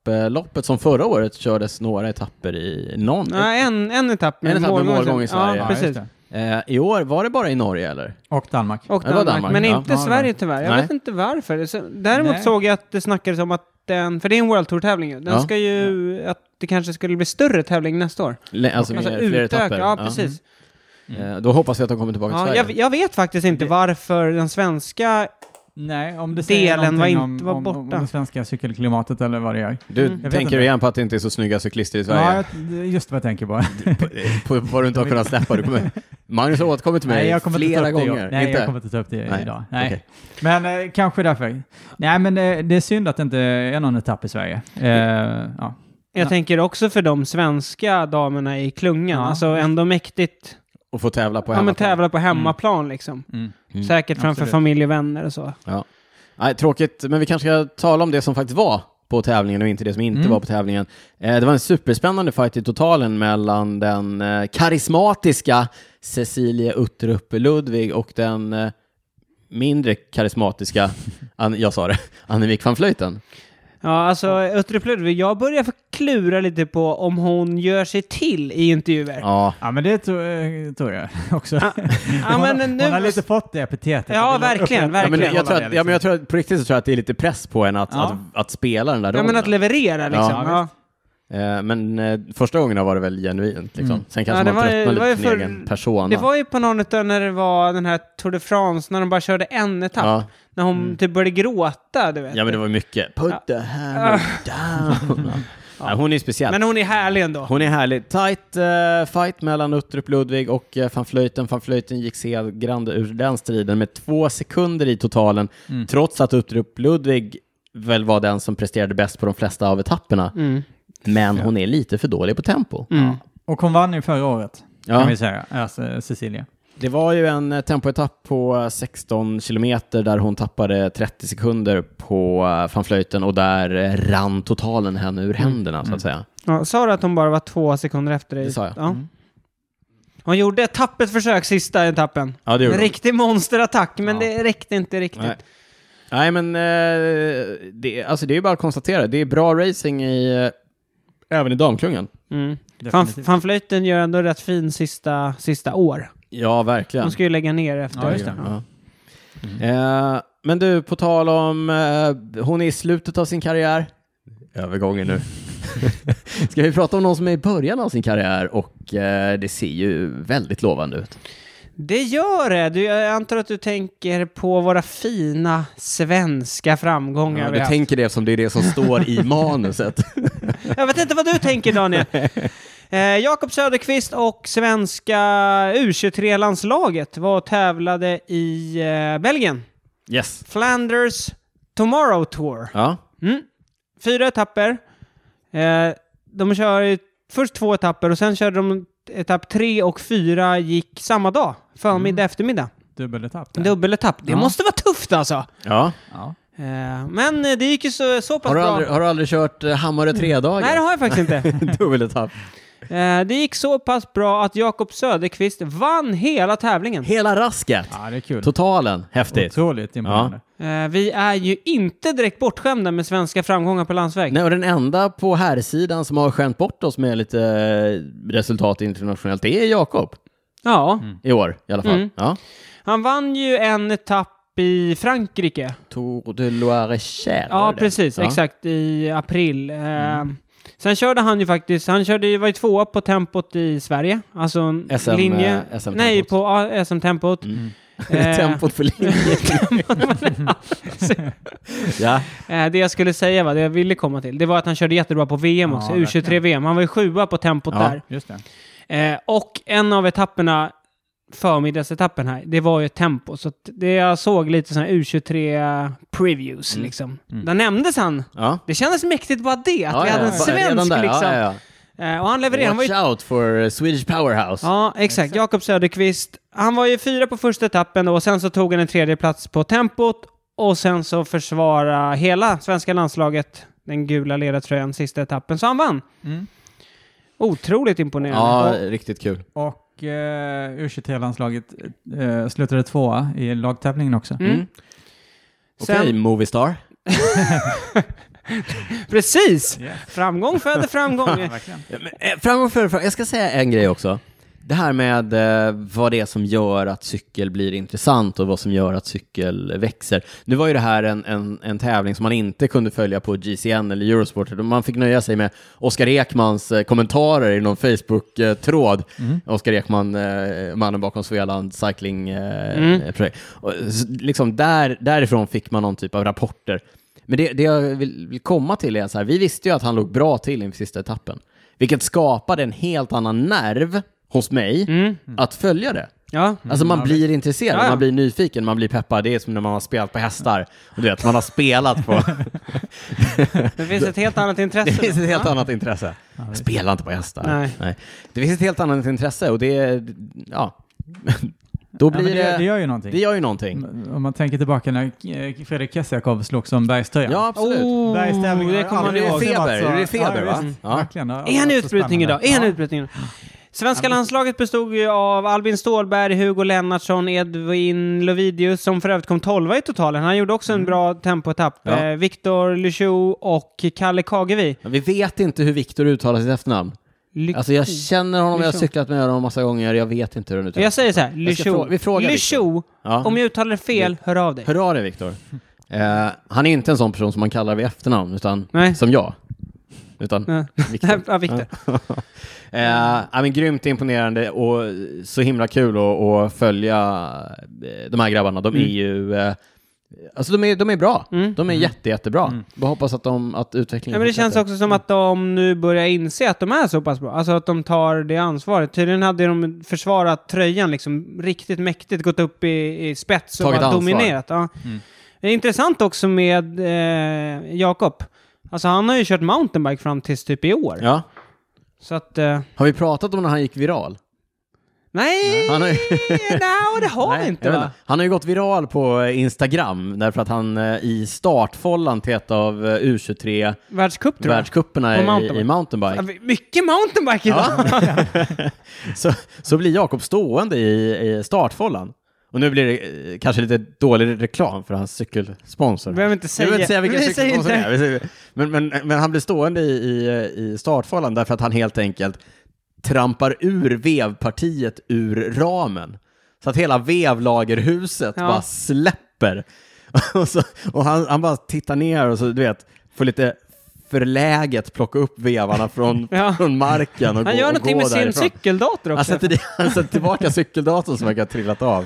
Speaker 1: dametapploppet som förra året kördes några etapper i någon.
Speaker 2: Nej, en, en etapp med
Speaker 1: En etapp med målgång i Sverige.
Speaker 2: Ja,
Speaker 1: Ja,
Speaker 2: precis.
Speaker 3: just det.
Speaker 1: Eh, I år var det bara i Norge eller?
Speaker 3: Och Danmark.
Speaker 2: Och
Speaker 1: Det var
Speaker 2: Danmark,
Speaker 1: Danmark,
Speaker 2: men
Speaker 1: ja.
Speaker 2: inte
Speaker 3: Ja,
Speaker 2: Sverige
Speaker 3: Danmark.
Speaker 2: tyvärr. Jag
Speaker 1: Nej.
Speaker 2: vet inte varför. Så- Däremot
Speaker 3: Nej.
Speaker 2: såg jag att det snackades om att den, för det är en World Tour-tävling ju. den
Speaker 1: Ja.
Speaker 2: ska ju, att det kanske skulle bli större tävling nästa år.
Speaker 1: Le- Alltså,
Speaker 2: Alltså
Speaker 1: med fler
Speaker 2: utöka,
Speaker 1: etapper.
Speaker 2: ja precis.
Speaker 1: Eh, Då hoppas vi att de kommer tillbaka
Speaker 2: Ja,
Speaker 1: till
Speaker 2: jag,
Speaker 1: Sverige.
Speaker 2: jag vet faktiskt inte varför den svenska,
Speaker 3: Nej, om det säger
Speaker 2: Delen var
Speaker 3: någonting
Speaker 2: inte-
Speaker 3: om,
Speaker 2: var
Speaker 3: om, om
Speaker 2: borta.
Speaker 3: det svenska cykelklimatet eller vad det gör.
Speaker 1: Du
Speaker 3: vet
Speaker 1: tänker
Speaker 3: inte.
Speaker 1: igen på att det inte är så snygga cyklister i
Speaker 3: Ja,
Speaker 1: Sverige?
Speaker 3: jag- det är just vad jag tänker på.
Speaker 1: På, på vad du inte har kunnat släppa. Du kommer... Magnus har återkommit till mig flera
Speaker 3: inte ta upp Det, i
Speaker 1: gånger.
Speaker 3: år. nej,
Speaker 1: inte?
Speaker 3: jag kommer inte ta upp det
Speaker 1: Nej,
Speaker 3: idag. Nej.
Speaker 1: okej.
Speaker 3: Men eh, kanske därför. Nej, men eh, det, det är synd att det inte är någon etapp i Sverige. Eh, ja.
Speaker 2: jag
Speaker 3: Ja.
Speaker 2: tänker också för de svenska damerna i klungan,
Speaker 3: Ja.
Speaker 2: alltså ändå mäktigt.
Speaker 1: Och få tävla på
Speaker 2: Ja men
Speaker 1: hemmaplan. Mm.
Speaker 2: tävla på hemmaplan liksom.
Speaker 3: Mm.
Speaker 2: Säkert framför
Speaker 3: absolut.
Speaker 2: familj och vänner och så.
Speaker 1: Ja. Nej, tråkigt, men vi kanske ska tala om det som faktiskt var på tävlingen och inte det som inte
Speaker 2: Mm.
Speaker 1: var på tävlingen. Eh, det var en superspännande fight i totalen mellan den eh, karismatiska Cecilia Uttrup Ludvig och den eh, mindre karismatiska, An- jag sa det, Annemiek van Vleuten.
Speaker 2: Ja, alltså Uttrup Ludvig, jag börjar få klura lite på om hon gör sig till i intervjuer.
Speaker 1: Ja,
Speaker 3: ja, men det tror, eh, tror jag också.
Speaker 2: Ja, men eh, nu...
Speaker 3: Hon har lite fått det
Speaker 2: Ja,
Speaker 3: epitetet. Jag vill
Speaker 2: verkligen,
Speaker 3: upp-
Speaker 1: ja, men,
Speaker 2: verkligen.
Speaker 1: jag tror
Speaker 3: upprätthålla
Speaker 1: att,
Speaker 3: det,
Speaker 1: ja, men jag
Speaker 3: liksom.
Speaker 1: tror att, på riktigt så tror jag att det är lite press på henne att,
Speaker 3: Ja.
Speaker 1: att, att spela den där
Speaker 2: Ja,
Speaker 1: rollen.
Speaker 2: men att leverera liksom.
Speaker 1: Ja,
Speaker 2: Ja,
Speaker 1: visst. Eh, men eh, första gången var det väl genuint liksom. Sen kanske
Speaker 2: Mm. Ja,
Speaker 1: man
Speaker 2: det var ju-
Speaker 1: tröttnar
Speaker 2: det var
Speaker 1: lite
Speaker 2: ju
Speaker 1: på sin
Speaker 2: för-
Speaker 1: egen persona.
Speaker 2: Det var ju på någon utav när det var den här Tour de France, när de bara körde en etapp.
Speaker 1: Ja. Mm.
Speaker 2: När hon typ började gråta, du vet.
Speaker 1: Ja men det var mycket. Put the hammer down. Nej, hon är speciell.
Speaker 2: Men hon är härlig ändå.
Speaker 1: hon är härlig. Tight eh, fight mellan Uttrup Ludvig och eh, van Vleuten. Van Vleuten gick segrande ur den striden med två sekunder i totalen, trots att Uttrup Ludvig väl var den som presterade bäst på de flesta av etapperna.
Speaker 2: Mm,
Speaker 1: Men hon är lite för dålig på tempo.
Speaker 3: Och hon vann ju förra året,
Speaker 1: Ja.
Speaker 3: kan vi säga. Alltså, Cecilia.
Speaker 1: Det var ju en eh, tempoetapp på eh, 16 kilometer där hon tappade 30 sekunder på eh, van Vleuten och där eh, rann totalen henne ur händerna så att säga.
Speaker 2: Ja, sa du att hon bara var två sekunder efter dig?
Speaker 1: Det sa jag. Mm.
Speaker 2: Ja. Hon gjorde ett tappert försök sista etappen.
Speaker 1: Ja, det
Speaker 2: En
Speaker 1: gjorde hon.
Speaker 2: riktig monsterattack, men
Speaker 1: Ja.
Speaker 2: det räckte inte riktigt.
Speaker 1: Nej. Nej, men eh, det, alltså det är ju bara att konstatera. Det är bra racing i, eh, även i damklungan.
Speaker 2: Mm. Van,
Speaker 3: Definitivt.
Speaker 2: van Vleuten gör ändå rätt fin sista, sista år.
Speaker 1: Ja, verkligen.
Speaker 2: Hon ska ju lägga ner efter.
Speaker 3: Ja, just det.
Speaker 1: Ja. Eh, men du, på tal om... Eh, hon är i slutet av sin karriär. Övergången nu. Ska vi prata om någon som är i början av sin karriär och eh, det ser ju väldigt lovande ut.
Speaker 2: Det gör det. Du, jag antar att du tänker på våra fina svenska framgångar. vi
Speaker 1: du
Speaker 2: har haft.
Speaker 1: tänker det som det är det som står i manuset.
Speaker 2: Jag vet inte vad du tänker Daniel. Eh, Jakob Söderqvist och svenska U23-landslaget var och tävlade i eh, Belgien.
Speaker 1: Yes.
Speaker 2: Flanders Tomorrow Tour.
Speaker 1: Ja.
Speaker 2: Mm. Fyra etapper. Eh, de kör ju först två etapper och sen körde de etapp tre och fyra gick samma dag. Förmiddag, eftermiddag.
Speaker 3: Dubbeletapp där.
Speaker 2: Dubbeletapp. Det
Speaker 3: Ja.
Speaker 2: måste vara tufft alltså.
Speaker 1: ja.
Speaker 3: ja.
Speaker 2: Eh, men eh, det gick ju så, så pass
Speaker 1: Har, du
Speaker 2: bra.
Speaker 1: aldrig, har du aldrig kört eh, Hammarö tredagar?
Speaker 2: Nej, det har jag faktiskt inte.
Speaker 1: Dubbeletapp.
Speaker 2: Eh, det gick så pass bra att Jakob Söderqvist vann hela tävlingen.
Speaker 1: Hela rasket.
Speaker 3: ja, det är kul.
Speaker 1: Totalen. Häftigt.
Speaker 3: Otroligt imponerande.
Speaker 2: Eh, vi är ju inte direkt bortskämda med svenska framgångar på landsväg.
Speaker 1: Nej, och den enda på herrsidan som har skämt bort oss med lite eh, resultat internationellt, det är Jakob.
Speaker 2: Ja,
Speaker 1: I år i alla fall.
Speaker 2: Mm.
Speaker 1: Ja.
Speaker 2: han vann ju en etapp i Frankrike.
Speaker 1: Tour de Loire-Cher. var
Speaker 2: Ja,
Speaker 1: det det?
Speaker 2: precis.
Speaker 1: Ja.
Speaker 2: Exakt. I april. Eh,
Speaker 3: Mm.
Speaker 2: Sen körde han ju faktiskt, han körde ju, var ju tvåa på tempot i Sverige. Alltså en
Speaker 1: SM,
Speaker 2: linje.
Speaker 1: eh, Mm. SM-tempot.
Speaker 2: Nej, på ja, SM-tempot. Eh,
Speaker 1: Tempot för linjen.
Speaker 3: Mm.
Speaker 1: ja.
Speaker 2: Eh, det jag skulle säga, va, det jag ville komma till, det var att han körde jättebra på VM
Speaker 3: Ja,
Speaker 2: också,
Speaker 3: verkligen.
Speaker 2: U23-VM. Han var ju sjua på tempot
Speaker 1: Ja.
Speaker 2: där.
Speaker 3: Just det.
Speaker 2: Eh, och en av etapperna, förmiddagsetappen här, det var ju tempo. Så att det jag såg lite sådana U23-previews
Speaker 1: Mm.
Speaker 2: liksom.
Speaker 3: Mm.
Speaker 2: Där nämndes han.
Speaker 1: Ja.
Speaker 2: Det kändes mäktigt bara det, att
Speaker 1: Ja,
Speaker 2: vi
Speaker 1: ja,
Speaker 2: hade en
Speaker 1: ja. Redan
Speaker 2: svensk
Speaker 1: där,
Speaker 2: liksom.
Speaker 1: Ja, ja,
Speaker 2: Eh, och han levererade.
Speaker 1: ja.
Speaker 2: Han var ju...
Speaker 1: Watch out for eh, Swedish powerhouse.
Speaker 2: Ja, exakt. Jakob Söderqvist. Han var ju fyra på första etappen då, och sen så tog han en tredje plats på tempot och sen så försvara hela svenska landslaget den gula ledartröjan sista etappen. Så han vann.
Speaker 3: Mm.
Speaker 2: Otroligt
Speaker 1: Ja, eh,
Speaker 2: imponerande.
Speaker 1: riktigt kul.
Speaker 3: Och eh, U23-landslaget eh, slutade tvåa i lagtävlingen också.
Speaker 2: Mm.
Speaker 1: Okej,
Speaker 2: Sen-
Speaker 1: Movistar.
Speaker 2: Precis!
Speaker 3: Yes.
Speaker 2: Framgång föder framgång.
Speaker 3: Verkligen.
Speaker 1: Ja, men, eh, Framgång för, fram- jag ska säga en grej också. Det här med eh, vad det är som gör att cykel blir intressant och vad som gör att cykel växer. Nu var ju det här en, en, en tävling som man inte kunde följa på GCN eller Eurosport. utan Man fick nöja sig med Oskar Ekmans eh, kommentarer i någon Facebook-tråd. Oskar Ekman, eh, mannen bakom Svealand Cycling eh,
Speaker 2: Mm.
Speaker 1: Projekt. Och, eh, s- liksom där, därifrån fick man någon typ av rapporter. Men det, det jag vill, vill komma till är så här, vi visste ju att han låg bra till inför sista etappen. Vilket skapade en helt annan nerv hos mig
Speaker 2: Mm.
Speaker 1: att följa det.
Speaker 2: Ja.
Speaker 1: Alltså man blir intresserad,
Speaker 2: Ja, ja.
Speaker 1: man blir nyfiken, man blir peppad. Det är som när man har spelat på hästar. Och du vet, man har spelat på...
Speaker 2: Det finns ett helt annat
Speaker 1: Det
Speaker 2: intresse.
Speaker 1: finns
Speaker 2: då.
Speaker 1: ett helt
Speaker 2: Ja.
Speaker 1: annat intresse. Spela inte på hästar.
Speaker 2: Nej.
Speaker 1: Det finns ett helt annat intresse och det... Ja. Då
Speaker 3: Ja, men
Speaker 1: blir
Speaker 3: det,
Speaker 1: det...
Speaker 3: det
Speaker 1: Det,
Speaker 3: gör ju någonting.
Speaker 1: gör ju någonting.
Speaker 3: Om man tänker tillbaka när eh, Fredrik Kessiakov slogs om bergströjan.
Speaker 1: Ja, absolut.
Speaker 2: Oh,
Speaker 3: Bergstävlingen
Speaker 2: det
Speaker 3: har
Speaker 2: kommer
Speaker 1: Ja, men
Speaker 2: man
Speaker 1: det är
Speaker 2: ihåg.
Speaker 1: feber,
Speaker 3: Alltså,
Speaker 1: det är feber
Speaker 3: ja,
Speaker 1: va?
Speaker 3: visst.
Speaker 1: Ja.
Speaker 3: Verkligen. Det har
Speaker 2: Är han
Speaker 3: varit så
Speaker 2: utbrytning idag?
Speaker 3: spännande.
Speaker 2: Är han
Speaker 3: Ja.
Speaker 2: utbrytning idag? Svenska landslaget bestod ju av Albin Ståhlberg, Hugo Lennartsson, Edvin Lovidius som för övrigt kom 12 i totalen. Han gjorde också en bra tempoetapp.
Speaker 1: Mm. Ja.
Speaker 2: Eh, Viktor Luchou och Kalle Kagevi.
Speaker 1: Men Vi vet inte hur Viktor uttalar sitt efternamn.
Speaker 2: Ly- Mm.
Speaker 1: Alltså jag känner honom, jag har
Speaker 2: Lyschou.
Speaker 1: cyklat med honom massa gånger, jag vet inte hur han uttalar
Speaker 2: jag säger så här,
Speaker 1: Jag ska
Speaker 2: Luchou.
Speaker 1: frå- vi frågar Viktor.
Speaker 2: Luchou,
Speaker 1: Ja.
Speaker 2: om jag uttalar det fel, hör av dig.
Speaker 1: Hör av dig Viktor. Eh, han är inte en sån person som man kallar vid efternamn, utan
Speaker 2: Nej.
Speaker 1: som jag. Utan
Speaker 2: Ja.
Speaker 1: Viktor.
Speaker 2: Ja, Viktor.
Speaker 1: Eh, ja, men grymt imponerande och så himla kul att, att följa eh, de här grabbarna. De är ju... Eh, alltså de är, de är bra.
Speaker 2: Mm.
Speaker 1: De är jätte, jättebra. Bara hoppas att, de, att utvecklingen
Speaker 2: Ja, men det
Speaker 1: fortsätter.
Speaker 2: känns också som att de nu börjar inse att de är så pass bra. Alltså att de tar det ansvaret. Tydligen hade de försvarat tröjan liksom riktigt mäktigt, gått upp i, i spets och
Speaker 1: Tagit
Speaker 2: bara
Speaker 1: ansvar.
Speaker 2: dominerat. Ja. Det är intressant också med eh, Jakob. Alltså han har ju kört mountainbike fram tills typ i år.
Speaker 1: Ja.
Speaker 2: Så att... Eh,
Speaker 1: Har vi pratat om när han gick viral?
Speaker 2: nej!
Speaker 1: Han har ju-
Speaker 2: Nej, det har vi
Speaker 1: Nej,
Speaker 2: inte
Speaker 1: jag vet
Speaker 2: va?
Speaker 1: Han har ju gått viral på eh, Instagram därför att han eh, i startfållan till ett av eh, U23
Speaker 2: Världscup tror jag.
Speaker 1: världscuperna
Speaker 2: På
Speaker 1: i
Speaker 2: mountainbike.
Speaker 1: i mountainbike.
Speaker 2: Ja, Mycket mountainbike idag!
Speaker 1: Så, så blir Jakob stående i, i startfållan. Och nu blir det eh, kanske lite dålig reklam för hans cykelsponsor.
Speaker 2: Vi behöver inte säga.
Speaker 1: Jag vill inte säga vilken
Speaker 2: Vi säger
Speaker 1: cykelsponsor det
Speaker 2: inte.
Speaker 1: är. Vi säger- Men, men, men han blir stående i, i, i startfållan därför att han helt enkelt trampar ur vevpartiet ur ramen. Så att hela vevlagerhuset
Speaker 2: Ja.
Speaker 1: bara släpper. Och, så, och han, han bara tittar ner och så, du vet, får lite förläget plocka upp vevarna från,
Speaker 2: Ja.
Speaker 1: från marken och
Speaker 2: Han
Speaker 1: gå,
Speaker 2: gör
Speaker 1: och
Speaker 2: någonting
Speaker 1: gå
Speaker 2: med sin
Speaker 1: därifrån.
Speaker 2: cykeldator också.
Speaker 1: Han sätter, di- han sätter tillbaka cykeldatorn som verkar ha trillat av.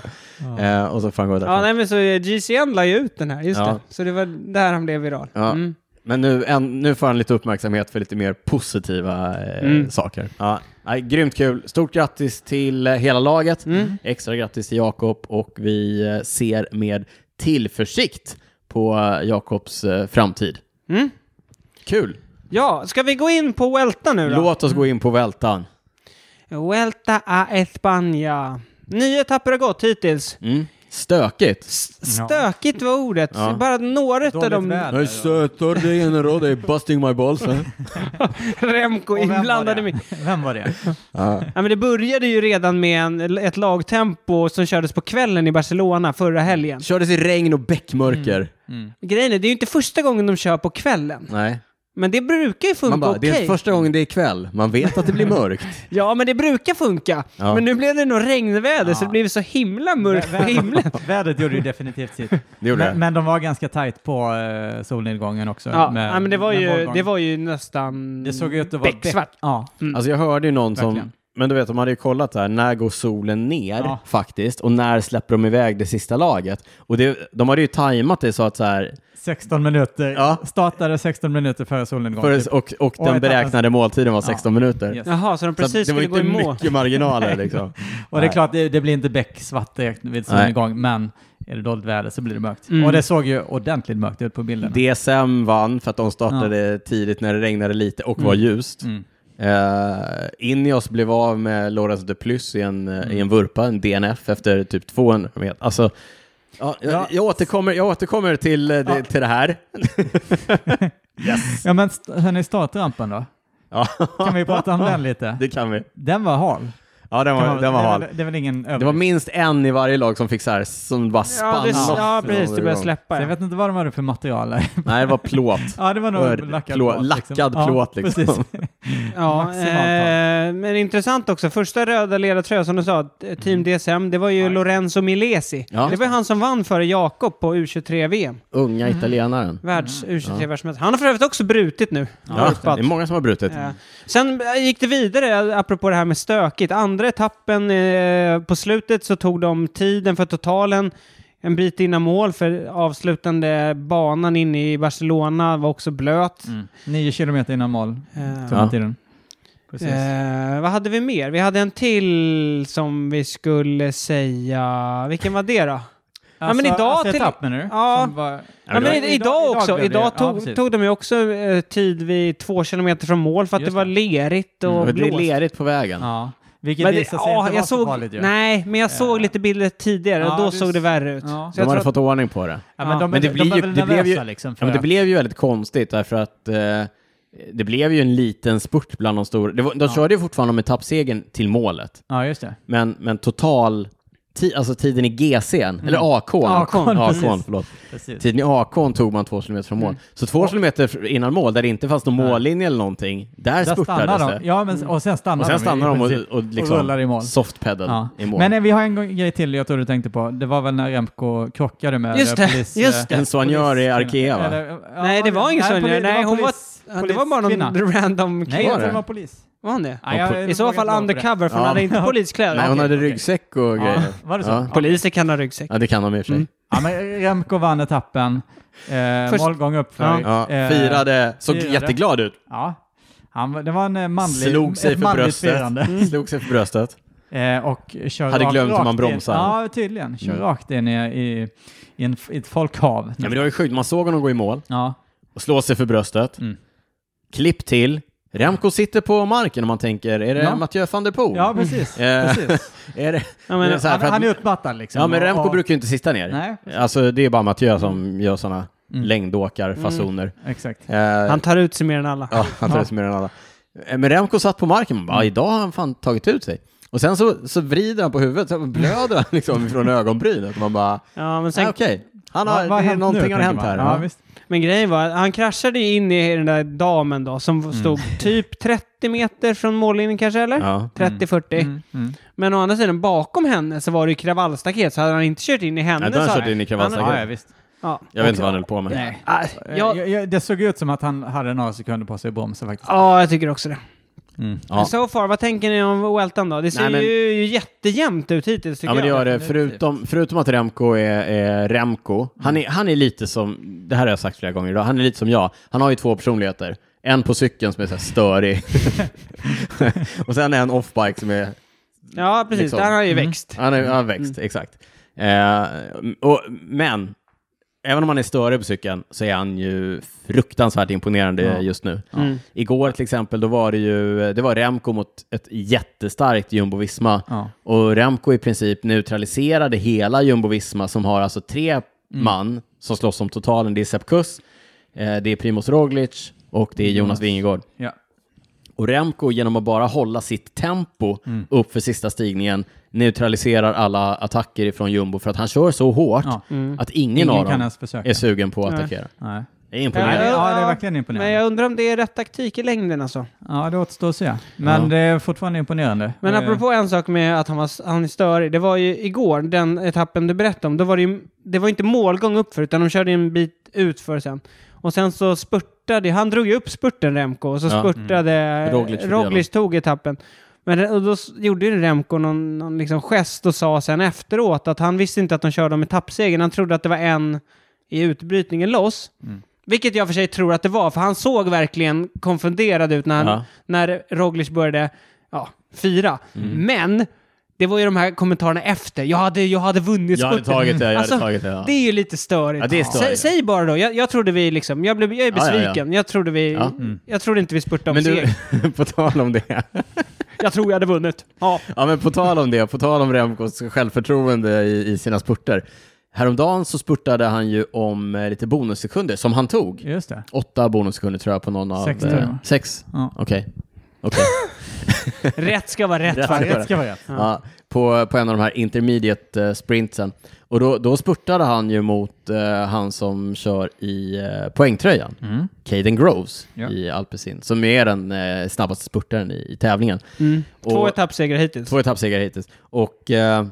Speaker 1: Eh, och så får han gå därifrån.
Speaker 2: Ja, nej men så eh, GCN la ju ut den här, just
Speaker 1: Ja.
Speaker 2: det. Så det var där han blev viral.
Speaker 1: Ja.
Speaker 2: Mm.
Speaker 1: Men nu, en, nu får han lite uppmärksamhet för lite mer positiva eh,
Speaker 2: Mm.
Speaker 1: saker. Ja. Nej, grymt kul. Stort grattis till eh, hela laget.
Speaker 2: Mm.
Speaker 1: Extra grattis till Jakob och vi eh, ser med tillförsikt på eh, Jakobs eh, framtid.
Speaker 2: Mm.
Speaker 1: Kul!
Speaker 2: Ja, ska vi gå in på Vuelta nu då?
Speaker 1: Låt oss gå in på vältan.
Speaker 2: Vuelta a España. Nio etapper har gått hittills.
Speaker 1: Mm. Stökigt.
Speaker 2: S-
Speaker 3: Ja.
Speaker 2: Stökigt var ordet.
Speaker 1: Ja.
Speaker 2: Bara några av
Speaker 3: Dåligt
Speaker 2: de
Speaker 3: väder.
Speaker 1: stöter dig en rad, det är busting my balls.
Speaker 2: Remco
Speaker 3: Och vem var
Speaker 2: inblandade
Speaker 3: det?
Speaker 2: med.
Speaker 3: Vem var det?
Speaker 2: Ja, men det började ju redan med en, ett lagtempo som kördes på kvällen i Barcelona förra helgen.
Speaker 1: Kördes i regn och bäckmörker.
Speaker 2: Mm. Grejen är, det är ju inte första gången de kör på kvällen.
Speaker 1: Nej.
Speaker 2: Men det brukar ju funka
Speaker 1: Man bara,
Speaker 2: okej.
Speaker 1: det är första gången det är kväll. Man vet att det blir mörkt.
Speaker 2: Ja, men det brukar funka.
Speaker 1: typ. Ja.
Speaker 2: Men nu blev det nog regnväder så det blev så himla mörkt på
Speaker 3: Vä- vä-
Speaker 2: himlen.
Speaker 3: Vädret gjorde ju definitivt sitt.
Speaker 1: Det gjorde
Speaker 3: Men,
Speaker 1: det.
Speaker 3: men de var ganska tajt på eh, solnedgången också.
Speaker 2: Ja,
Speaker 3: med-
Speaker 2: ja, men det var,
Speaker 3: med
Speaker 2: ju,
Speaker 3: målgång.
Speaker 2: det var ju nästan...
Speaker 3: Det såg ut att vara
Speaker 2: Mm, becksvart.
Speaker 3: beck- Ja,
Speaker 1: Alltså jag hörde ju någon som,
Speaker 3: Mm. Verkligen.
Speaker 1: men du vet de hade ju kollat där, när går solen ner
Speaker 3: Ja.
Speaker 1: faktiskt och när släpper de iväg det sista laget? Och det, de hade ju tajmat det så att så här,
Speaker 3: 16 minuter.
Speaker 1: Ja.
Speaker 3: Startade 16 minuter före solnedgången.
Speaker 1: för, och, och
Speaker 3: Och
Speaker 1: den
Speaker 3: ett alltså-
Speaker 1: beräknade måltiden var
Speaker 3: Ja.
Speaker 1: 16 minuter.
Speaker 3: Yes.
Speaker 2: Jaha, så
Speaker 1: Så
Speaker 2: de
Speaker 1: att
Speaker 2: precis
Speaker 1: det var
Speaker 2: skulle
Speaker 1: ju
Speaker 2: gå i
Speaker 1: inte
Speaker 2: mål.
Speaker 1: mycket marginaler liksom.
Speaker 3: Och det är klart, det, det blir inte becksvart direkt vid solnedgång, men är det dåligt väder så blir det mörkt.
Speaker 2: Mm.
Speaker 3: Och det såg ju ordentligt mörkt ut på bilden.
Speaker 1: DSM vann för att de startade tidigt när det regnade lite och var ljust.
Speaker 3: Mm.
Speaker 1: Uh, Ineos blev av med Loras de Plus i en, eh, i en vurpa, en DNF, efter typ 200 meter. Alltså, ja, jag,
Speaker 3: Ja.
Speaker 1: Jag, återkommer, jag återkommer till, eh, det,
Speaker 3: Ja.
Speaker 1: till det här.
Speaker 3: Ja men st- hörni, startrampen då?
Speaker 1: Ja,
Speaker 3: Kan vi prata om den lite?
Speaker 1: det kan vi.
Speaker 3: Den var hal.
Speaker 1: Ja, den
Speaker 3: Kan
Speaker 1: var,
Speaker 3: man-
Speaker 1: den var
Speaker 3: det är
Speaker 1: hal.
Speaker 3: väl- Det är väl ingen
Speaker 1: Det var
Speaker 3: överdrift.
Speaker 1: minst en i varje lag som fick så här, som bara
Speaker 2: Ja,
Speaker 1: spann
Speaker 2: det,
Speaker 1: loss.
Speaker 2: ja, precis. Det började
Speaker 3: Så
Speaker 2: släppa.
Speaker 3: jag
Speaker 2: Ja.
Speaker 3: vet inte vad de hade för material.
Speaker 1: Nej, det var plåt.
Speaker 3: ja, det var
Speaker 1: Och
Speaker 3: nog lackad
Speaker 1: plå-
Speaker 3: plåt. liksom.
Speaker 1: lackad plåt,
Speaker 3: Ja,
Speaker 1: liksom.
Speaker 3: precis.
Speaker 2: Ja,
Speaker 3: Maximalt
Speaker 2: eh, men intressant också. Första röda ledartröjan som du sa, eh, Team DSM, det var ju Lorenzo Milesi.
Speaker 1: Mm. Ja.
Speaker 2: Det var ju han som vann före Jakob på U23-VM.
Speaker 1: Unga
Speaker 3: Mm.
Speaker 1: italienaren.
Speaker 2: Världs U23-världsmästare. Han har för övrigt också brutit nu.
Speaker 1: Mm. Ja, det
Speaker 2: Hoppat.
Speaker 1: är många som har brutit.
Speaker 2: Ja. Sen eh, gick det vidare, apropå det här med stökigt. Andra etappen eh, på slutet så tog de tiden för totalen en bit innan mål för avslutande banan inne i Barcelona var också blöt.
Speaker 3: Mm. Nio kilometer innan mål
Speaker 2: Eh,
Speaker 3: tog
Speaker 1: Ja.
Speaker 3: ja. tiden. Precis.
Speaker 2: Eh, vad hade vi mer? Vi hade en till som vi skulle säga... Vilken var det då? ja, men idag
Speaker 3: alltså
Speaker 2: till-
Speaker 3: etapp menar du?
Speaker 2: Ja.
Speaker 3: Som var-
Speaker 1: Ja,
Speaker 2: Ja, men
Speaker 1: det-
Speaker 2: idag, idag också.
Speaker 3: blev det-
Speaker 2: Idag
Speaker 3: ja,
Speaker 2: tog,
Speaker 3: precis.
Speaker 2: tog de ju också eh, tid vid två kilometer från mål för att
Speaker 3: Just
Speaker 2: det var
Speaker 3: det.
Speaker 2: lerigt och
Speaker 1: Mm. Det blir
Speaker 2: blåst.
Speaker 1: lerigt på vägen.
Speaker 3: Ja. Vilket
Speaker 2: Men det,
Speaker 3: visade
Speaker 2: ja,
Speaker 3: sig inte vara
Speaker 2: jag
Speaker 3: så
Speaker 2: såg,
Speaker 3: farligt ju.
Speaker 2: Nej, men jag såg
Speaker 3: Eh.
Speaker 2: lite bilder tidigare och
Speaker 3: Ja,
Speaker 2: då
Speaker 3: du
Speaker 2: såg det
Speaker 3: s-
Speaker 2: värre ut.
Speaker 3: Ja.
Speaker 2: Så
Speaker 1: De
Speaker 2: jag
Speaker 1: hade
Speaker 2: tror-
Speaker 1: fått ordning på det.
Speaker 3: Ja, men de,
Speaker 1: Men det
Speaker 3: de, de
Speaker 1: blir
Speaker 3: var
Speaker 1: ju-
Speaker 3: väl
Speaker 1: det blev
Speaker 3: nervösa
Speaker 1: ju-
Speaker 3: liksom. För
Speaker 1: Ja, men det
Speaker 3: att-
Speaker 1: blev ju väldigt konstigt därför att eh, det blev ju en liten spurt bland de stora. Det var, de körde ju fortfarande om etappsegern till målet,
Speaker 3: ja just det.
Speaker 1: men, men total, ti, alltså tiden i GC'n, eller AK,
Speaker 3: AK:n, Mm. precis.
Speaker 1: förlåt.
Speaker 3: Precis.
Speaker 1: Tiden i AK'n tog man två kilometer från mål.
Speaker 3: Mm.
Speaker 1: Så två kilometer fr- innan mål, där det inte fanns någon mållinje eller någonting, där,
Speaker 3: Där
Speaker 1: spurtades
Speaker 3: stannar
Speaker 1: det.
Speaker 3: de. Ja, men, och sen stannar
Speaker 1: Och sen stannar de och,
Speaker 3: precis.
Speaker 1: och, liksom
Speaker 3: rullar i mål.
Speaker 1: softpedal
Speaker 3: Ja.
Speaker 1: i mål.
Speaker 3: Men eh, vi har en gång- grej till jag tror du tänkte på. Det var väl när Remco krockade med
Speaker 2: Just
Speaker 3: eh,
Speaker 2: det,
Speaker 3: polis...
Speaker 2: just
Speaker 3: eh,
Speaker 1: en soignör i Arkea va?
Speaker 3: eller, eh,
Speaker 2: Nej, det var ingen
Speaker 3: nej,
Speaker 2: sån.
Speaker 3: poli-
Speaker 2: Nej, hon var...
Speaker 3: polis-
Speaker 2: ja, Det var bara
Speaker 3: poliskvinna.
Speaker 2: någon random
Speaker 3: Nej,
Speaker 2: kille.
Speaker 3: jag
Speaker 1: Var
Speaker 3: tror
Speaker 1: det?
Speaker 3: det var polis.
Speaker 2: Var hon det?
Speaker 3: Nej, jag-
Speaker 1: poli-
Speaker 3: jag
Speaker 2: I så
Speaker 3: vågar
Speaker 2: fall
Speaker 3: inte gå på det.
Speaker 2: undercover, för hon
Speaker 1: Ja.
Speaker 2: hade inte poliskläder.
Speaker 1: Nej, hon hade
Speaker 3: okej.
Speaker 1: ryggsäck och
Speaker 3: Ja, Mm.
Speaker 1: grejer.
Speaker 3: var det så?
Speaker 1: Ja.
Speaker 2: Poliser kan ha ryggsäck.
Speaker 1: Ja, det kan de i och för sig.
Speaker 3: Ja, men Remco vann etappen. Eh,
Speaker 2: Först-
Speaker 3: Målgång uppför.
Speaker 1: Ja,
Speaker 3: Eh,
Speaker 1: firade, såg
Speaker 3: firade.
Speaker 1: jätteglad ut.
Speaker 3: Ja. Han, var- det var en eh, manlig,
Speaker 1: Slog sig
Speaker 3: ett
Speaker 1: för
Speaker 3: manligt
Speaker 1: bröstet. Mm.
Speaker 3: firande.
Speaker 1: Slog sig för bröstet.
Speaker 3: Eh, och kör
Speaker 1: Hade
Speaker 3: rakt-
Speaker 1: glömt hur
Speaker 3: rakt
Speaker 1: man
Speaker 3: in.
Speaker 1: bromsar.
Speaker 3: Ja, tydligen. Kör
Speaker 1: Mm.
Speaker 3: rakt in i, i, i, en, i ett folkhav.
Speaker 1: Ja, men det var ju sjukt. Man såg honom gå i mål
Speaker 3: Ja.
Speaker 1: och slå sig för bröstet.
Speaker 3: Mm.
Speaker 1: Klipp till. Remco sitter på marken om man tänker, är det
Speaker 3: Ja.
Speaker 1: Mathieu van der Poel?
Speaker 3: ja, precis.
Speaker 1: Eh,
Speaker 3: precis.
Speaker 1: Är det,
Speaker 2: Ja,
Speaker 1: det
Speaker 2: men,
Speaker 1: är så här,
Speaker 3: Han,
Speaker 1: för att,
Speaker 3: han är utmattad liksom.
Speaker 1: ja, men
Speaker 3: Och-
Speaker 1: Remco
Speaker 3: och-
Speaker 1: brukar ju inte sitta ner.
Speaker 3: Nej,
Speaker 1: Alltså, det är bara Mathieu som gör sådana
Speaker 3: Mm.
Speaker 1: längdåkarfasoner.
Speaker 3: exakt.
Speaker 1: Eh,
Speaker 2: han tar ut sig mer än alla.
Speaker 1: Ja, han tar ut sig mer än alla. Eh, Men Remco satt på marken
Speaker 3: Mm.
Speaker 1: och bara, "Ah, idag har han fan tagit ut sig. Och sen så, så vrider han på huvudet, så blöder han liksom från ögonbrynet. Man bara,
Speaker 2: Ja, men,
Speaker 1: Nej,
Speaker 2: sen,
Speaker 1: okej. Han har,
Speaker 3: Vad- vad
Speaker 1: det,
Speaker 3: hänt
Speaker 1: någonting
Speaker 3: nu,
Speaker 1: har
Speaker 3: tänker
Speaker 1: hänt
Speaker 3: man?
Speaker 1: här.
Speaker 3: Ja,
Speaker 1: va?
Speaker 3: visst.
Speaker 2: men grejen var att han kraschade ju in i den där damen då,
Speaker 1: Mm.
Speaker 2: som stod typ 30 meter från mållinjen kanske, eller?
Speaker 1: Ja.
Speaker 2: 30-40.
Speaker 3: Mm, mm.
Speaker 2: Men å andra sidan, bakom henne så var det ju kravallstaket, så hade han inte kört in i henne
Speaker 1: Nej, då har
Speaker 2: så...
Speaker 1: han kört in i
Speaker 3: Ja, ja,
Speaker 1: kravallstaket.
Speaker 3: visst.
Speaker 2: Ja.
Speaker 1: Jag vet inte vad han höll på med.
Speaker 3: Nej.
Speaker 2: Ah,
Speaker 3: Jag,
Speaker 2: jag,
Speaker 3: jag, det såg ut som att han hade några sekunder på sig att bromsa faktiskt.
Speaker 2: ja, jag tycker också det.
Speaker 3: Mm.
Speaker 1: Ja.
Speaker 2: So far, vad tänker ni om Weltan då? Det ser
Speaker 1: Nej, men-
Speaker 2: ju jättejämnt ut hittills tycker
Speaker 1: Ja, men det
Speaker 2: jag.
Speaker 1: gör det.
Speaker 3: definitivt.
Speaker 1: Förutom, förutom att Remco är, är Remco, han är, han är lite som, det här har jag sagt flera gånger idag, han är lite som jag. Han har ju två personligheter. En på cykeln som är så här störig. och sen en offbike som är
Speaker 2: Ja, precis.
Speaker 1: liksom.
Speaker 2: Där har han ju växt.
Speaker 1: Han har han har växt, exakt. Eh, och, men även om han är större på cykeln så är han ju fruktansvärt imponerande
Speaker 3: Ja.
Speaker 1: just nu.
Speaker 2: Mm.
Speaker 1: Igår till exempel, då var det ju det var Remco mot ett jättestarkt Jumbo-Visma
Speaker 3: Ja.
Speaker 1: och Remco i princip neutraliserade hela Jumbo-Visma som har alltså tre man som slåss om totalen. Det är Sepp Kuss, eh, det är Primoz Roglic och det är Jonas Vingegaard.
Speaker 3: Ja.
Speaker 1: Och Remco genom att bara hålla sitt tempo
Speaker 3: Mm.
Speaker 1: upp för sista stigningen neutraliserar alla attacker från Jumbo för att han kör så hårt
Speaker 3: Ja.
Speaker 1: att ingen,
Speaker 3: Ingen
Speaker 1: av
Speaker 3: kan
Speaker 1: dem
Speaker 3: ens försöka.
Speaker 1: är sugen på att
Speaker 2: Nej.
Speaker 1: attackera.
Speaker 3: Nej.
Speaker 1: Det är
Speaker 3: Ja, det,
Speaker 1: imponerande.
Speaker 3: ja, det är verkligen
Speaker 2: Men
Speaker 3: imponerande.
Speaker 2: jag undrar om det är rätt taktik i längden alltså.
Speaker 3: Ja, det återstår att se. Men
Speaker 1: Ja.
Speaker 3: det är fortfarande imponerande.
Speaker 2: Men
Speaker 3: Eh,
Speaker 2: apropå en sak med att han, var, han är störig. Det var ju igår, den etappen du berättade om. Då var det ju, det var inte målgång uppför, utan de körde en bit utför sen. Och sen så spurtade, han drog ju upp spurten Remco, och så
Speaker 1: Ja.
Speaker 2: spurtade
Speaker 3: Mm.
Speaker 1: Roglic förbi
Speaker 2: Eh, Roglic tog etappen. Men det- och då s- gjorde ju Remco någon, någon liksom gest och sa sen efteråt att han visste inte att de körde om etappsegern. Han trodde att det var en i utbrytningen loss.
Speaker 1: Mm.
Speaker 2: Vilket jag för sig tror att det var, för han såg verkligen konfunderad ut när, han,
Speaker 1: Ja.
Speaker 2: när Roglic började ja, fira.
Speaker 1: Mm.
Speaker 2: Men det var ju de här kommentarerna efter. Jag hade, jag hade vunnit
Speaker 1: Jag hade
Speaker 2: spurten.
Speaker 1: tagit det, jag
Speaker 2: Alltså,
Speaker 1: hade tagit det. Ja.
Speaker 2: Det är ju lite störigt.
Speaker 1: Ja, det är störigt.
Speaker 2: Sä, säg bara då. Jag, jag trodde vi liksom... Jag, blev, jag är
Speaker 1: Ja, ja, ja.
Speaker 2: besviken. Jag trodde vi...
Speaker 1: Ja.
Speaker 2: Jag trodde inte vi spurtade om
Speaker 1: Men du,
Speaker 2: seger.
Speaker 1: på tal om det.
Speaker 2: Jag tror jag hade vunnit. Ja.
Speaker 1: Ja, men på tal om det, på tal om Remcos självförtroende i, i sina spurter. Häromdagen så spurtade han ju om eh, lite bonussekunder som han tog.
Speaker 3: Just det.
Speaker 1: Åtta bonussekunder tror jag på någon av...
Speaker 3: Sex,
Speaker 1: eh,
Speaker 3: tror jag.
Speaker 1: Sex?
Speaker 3: Ja.
Speaker 1: Okej. Okej.
Speaker 2: Rätt ska vara rätt.
Speaker 1: Rätt
Speaker 2: fan.
Speaker 1: ska vara rätt.
Speaker 3: ska vara rätt.
Speaker 1: Ja, på, på en av de här intermediate eh, sprintsen. Och då, då spurtade han ju mot eh, han som kör i eh, poängtröjan,
Speaker 3: Mm.
Speaker 1: Caden Groves
Speaker 3: Ja.
Speaker 1: i Alpecin, som är den eh, snabbaste spurtaren i, i tävlingen.
Speaker 2: Mm. Två
Speaker 1: Och-
Speaker 2: etappsegrar hittills.
Speaker 1: Två etappsegrar hittills. Och eh,